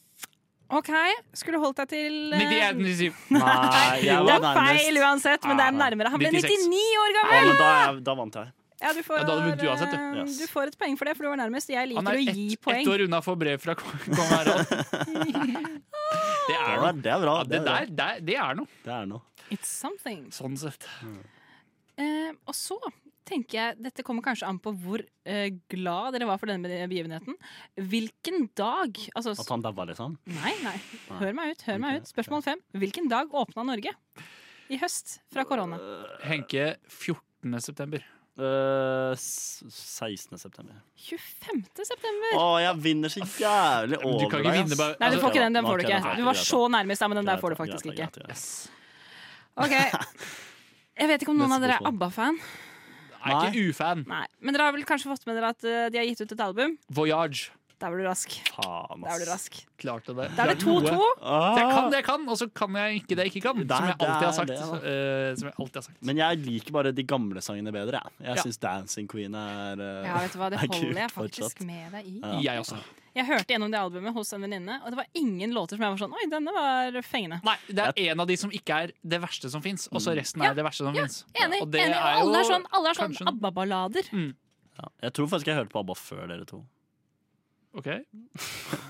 OK, skulle holdt deg til eh, 91, 97. Nei, jeg Det var er feil nærmest. uansett, men det er Ah, nei. nærmere. Han ble 96. 99 år Ja, gammel! men da, er jeg- da vant jeg. Ja, du, får, Ja, da hadde du vunnet uansett, du. eh, Yes. du får et poeng for det, for du var nærmest. Jeg Han liker er å ett gi ett poeng. år unna å få brev fra kong Harald. Det Det er er, noe. det er bra. Ja, Det det, er, bra. der, der, det er noe. Det er noe. It's something. Sånn sett. Eh, og så tenker jeg, dette kommer kanskje an på hvor eh, glad dere var for denne begivenheten. Hvilken dag altså, At han daua, liksom. Nei, nei. Hør meg ut. hør meg ut. Spørsmål fem. Hvilken dag åpna Norge i høst fra korona? Henke 14. september. Eh, s- 16. september. 25. september! Å, jeg vinner så jævlig men du over kan ikke vinne bare- Nei, du får ikke den. altså, Den Nå, får ok, du nå ikke. får jeg Du ikke, var greit, så nærmest, ja, men den der greit, får du greit, faktisk greit, ikke. greit, greit. Yes. Ok. Jeg vet ikke om noen av dere er Neste ABBA-fan, Jeg er ikke ufan. Nei, men dere har vel kanskje fått med dere at eh, de har gitt ut et album? Voyage. Der var du rask. Faen, Der var du ass. rask. Klarte det. Da er det Klarte noe. 2-2. Ah. Så jeg kan det jeg kan, og så kan jeg ikke det jeg ikke kan. Der, Som jeg alltid har der, sagt. det, ja. eh, som jeg alltid har sagt. Men jeg liker bare de gamle sangene bedre. Jeg, jeg Ja. syns Dancing Queen er eh, Ja, vet du hva, det er kult holder jeg fortsatt. faktisk med deg i. Ja. Jeg også. Jeg hørte gjennom det albumet hos en venninne, og det var ingen låter som jeg var sånn Oi, denne var fengende. Nei, det er en av de som ikke er det verste som fins, og så resten er det verste som fins. Enig. Og det enig. er Og alle er jo sånn, alle er sånn kanskje- ABBA-ballader. Ja. Jeg tror faktisk jeg hørte på ABBA før dere to. Ok. Å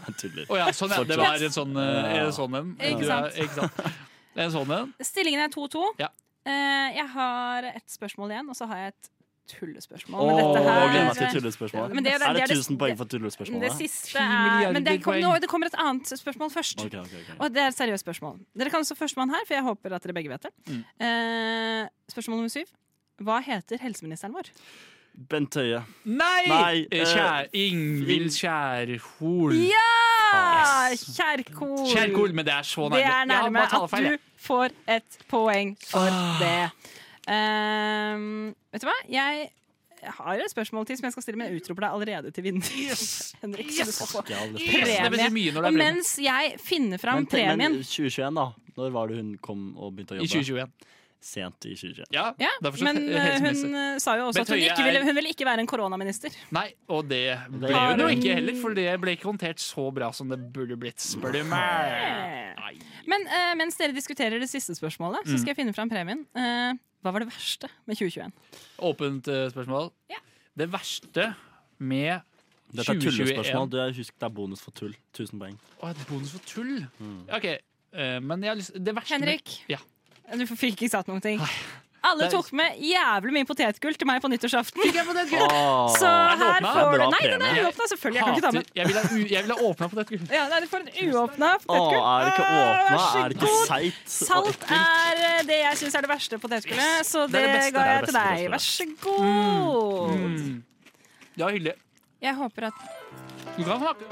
Jeg tuller. ja, sånn, ja. Det var en sånn, eh, Ja. en sånn en. Ikke Du er- sant. Ikke sant. En sånn en. Stillingen er 2-2. Ja. Eh, jeg har et spørsmål igjen, og så har jeg et tullespørsmål. Åh, Men dette her- gleder meg til tullespørsmålet. Men det- det- er det det er det- 1000 poeng for Det tullespørsmålet? siste Ti er Men det, kom, milliarder nå, poeng. det kommer et annet spørsmål først. Ok, ok, ok. Og det er et seriøst spørsmål. Dere kan også førstemann her, for jeg håper at dere begge vet det. Mm. Eh, spørsmål nummer syv. Hva heter helseministeren vår? Bent Høie. Nei! Nei, Eh, Kjær, Ingvild Kjærhol. Ja! Yes. Kjerkol. Kjærhol, men det er så nærme. Det er Jeg har nærme bare at talefeil, jeg. Ah. du får et poeng for det. Ehm, vet du hva? Jeg har et spørsmål til som jeg skal stille, men jeg utroper deg allerede til vinner. Henrik, så du skal få Ikke alle Yes, det betyr mye når det Og er premie. mens jeg finner fram Men, te- men premien 2021, da? Når var det hun kom og begynte å I jobbe? 2021. Sent i 2021. Ja, ja, derfor så men he- eh, hun helseminister. eh, sa jo også at Bent hun Høie ikke er- ville, hun ville ikke være en koronaminister. Nei, og det ble Har hun jo hun- ikke heller, for det ble ikke håndtert så bra som det burde blitt. Spør du meg. Nei. Men eh, mens dere diskuterer det siste spørsmålet, Mm. så skal jeg finne fram premien. Eh, hva var det verste med 2021? Åpent eh, spørsmål. Ja. Det verste med Dette er 2021. tullespørsmål. Du, husk, det er bonus for tull. 1000 poeng. Å, et bonus for tull? OK, eh, men jeg har lyst Det verste med- Henrik, Ja. du fikk ikke sagt noen ting. Alle Det er- tok med jævlig mye potetgull til meg på nyttårsaften. Åh. Så her åpna. får Det er du bra Nei, den er premie. uåpna, selvfølgelig. Jeg kan ikke ta Hater. med. Jeg ville ha u- jeg ville ha åpna på dette. Ja, nei, du får en uåpna Åh, potetgull. er det ikke Åh, åpna? vær så Er det ikke god. seigt? Salt er eh, det jeg syns er det verste potetgullet, så Det det, er det beste. Mm. ga Det er jeg det til deg. Vær så beste god. Mm. Det var hyggelig. Jeg håper at Du kan snakke.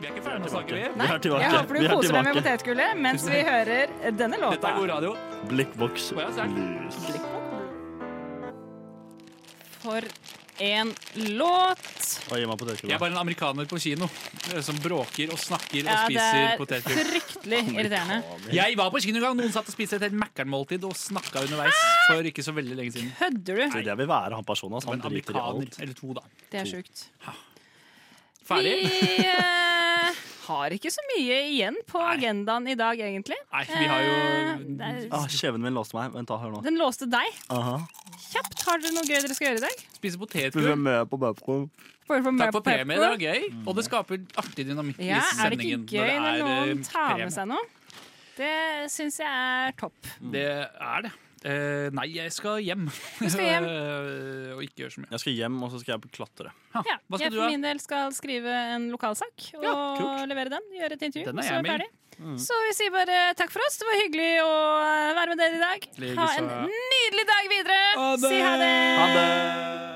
Vi er ikke ferdige med å snakke, vi. Vi er tilbake. jeg håper Vi du er koser deg med tilbake. potetgullet mens vi hører denne Dette låta. er god radio. Blikkboks. Å, ja, sterkt. Lys. For en låt. Å, gi meg potetgull. Jeg er bare en amerikaner på kino eh, som bråker og snakker og Ja, det spiser er potetgull. fryktelig irriterende. Jeg var på kino en gang noen satt og spiste et helt Mækkern-måltid og snakka underveis Ah! for ikke så veldig lenge siden. Hødder du? Jeg vil være han personen. ass. Som Han en driter i amerikaner. alt. Eller to, da. Det er sjukt. Ferdig? Vi eh, har ikke så mye igjen på agendaen i dag, egentlig. Nei, vi har jo Eh, det er- Ah, Kjeven min låste meg. Vent, da, hør nå. Den låste deg. Aha. Kjapt, har dere noe gøy dere skal gjøre i dag? spist Vi ble potetgull. med på Babcock. Får dere få med Takk på for premie, det Pepco? var gøy. Og det skaper artig dynamikk i Ja, er det sendingen. ikke gøy når det er, noen eh, tar med premie. seg noe? Det syns jeg er topp. Det er det. Eh, nei, jeg skal hjem. Du skal hjem. og ikke gjøre så mye. Jeg skal hjem, og så skal jeg på klatre. Ha, Ja, hva jeg skal du for ha? min del skal skrive en lokalsak og Ja, kult. levere den. Gjøre et intervju. Den er så jeg er vi Mm. med i. ferdig. Så vi sier bare takk for oss. Det var hyggelig å eh, være med dere i dag. Like Ha så. en nydelig dag videre. Ha det. Si ha det. Ha det!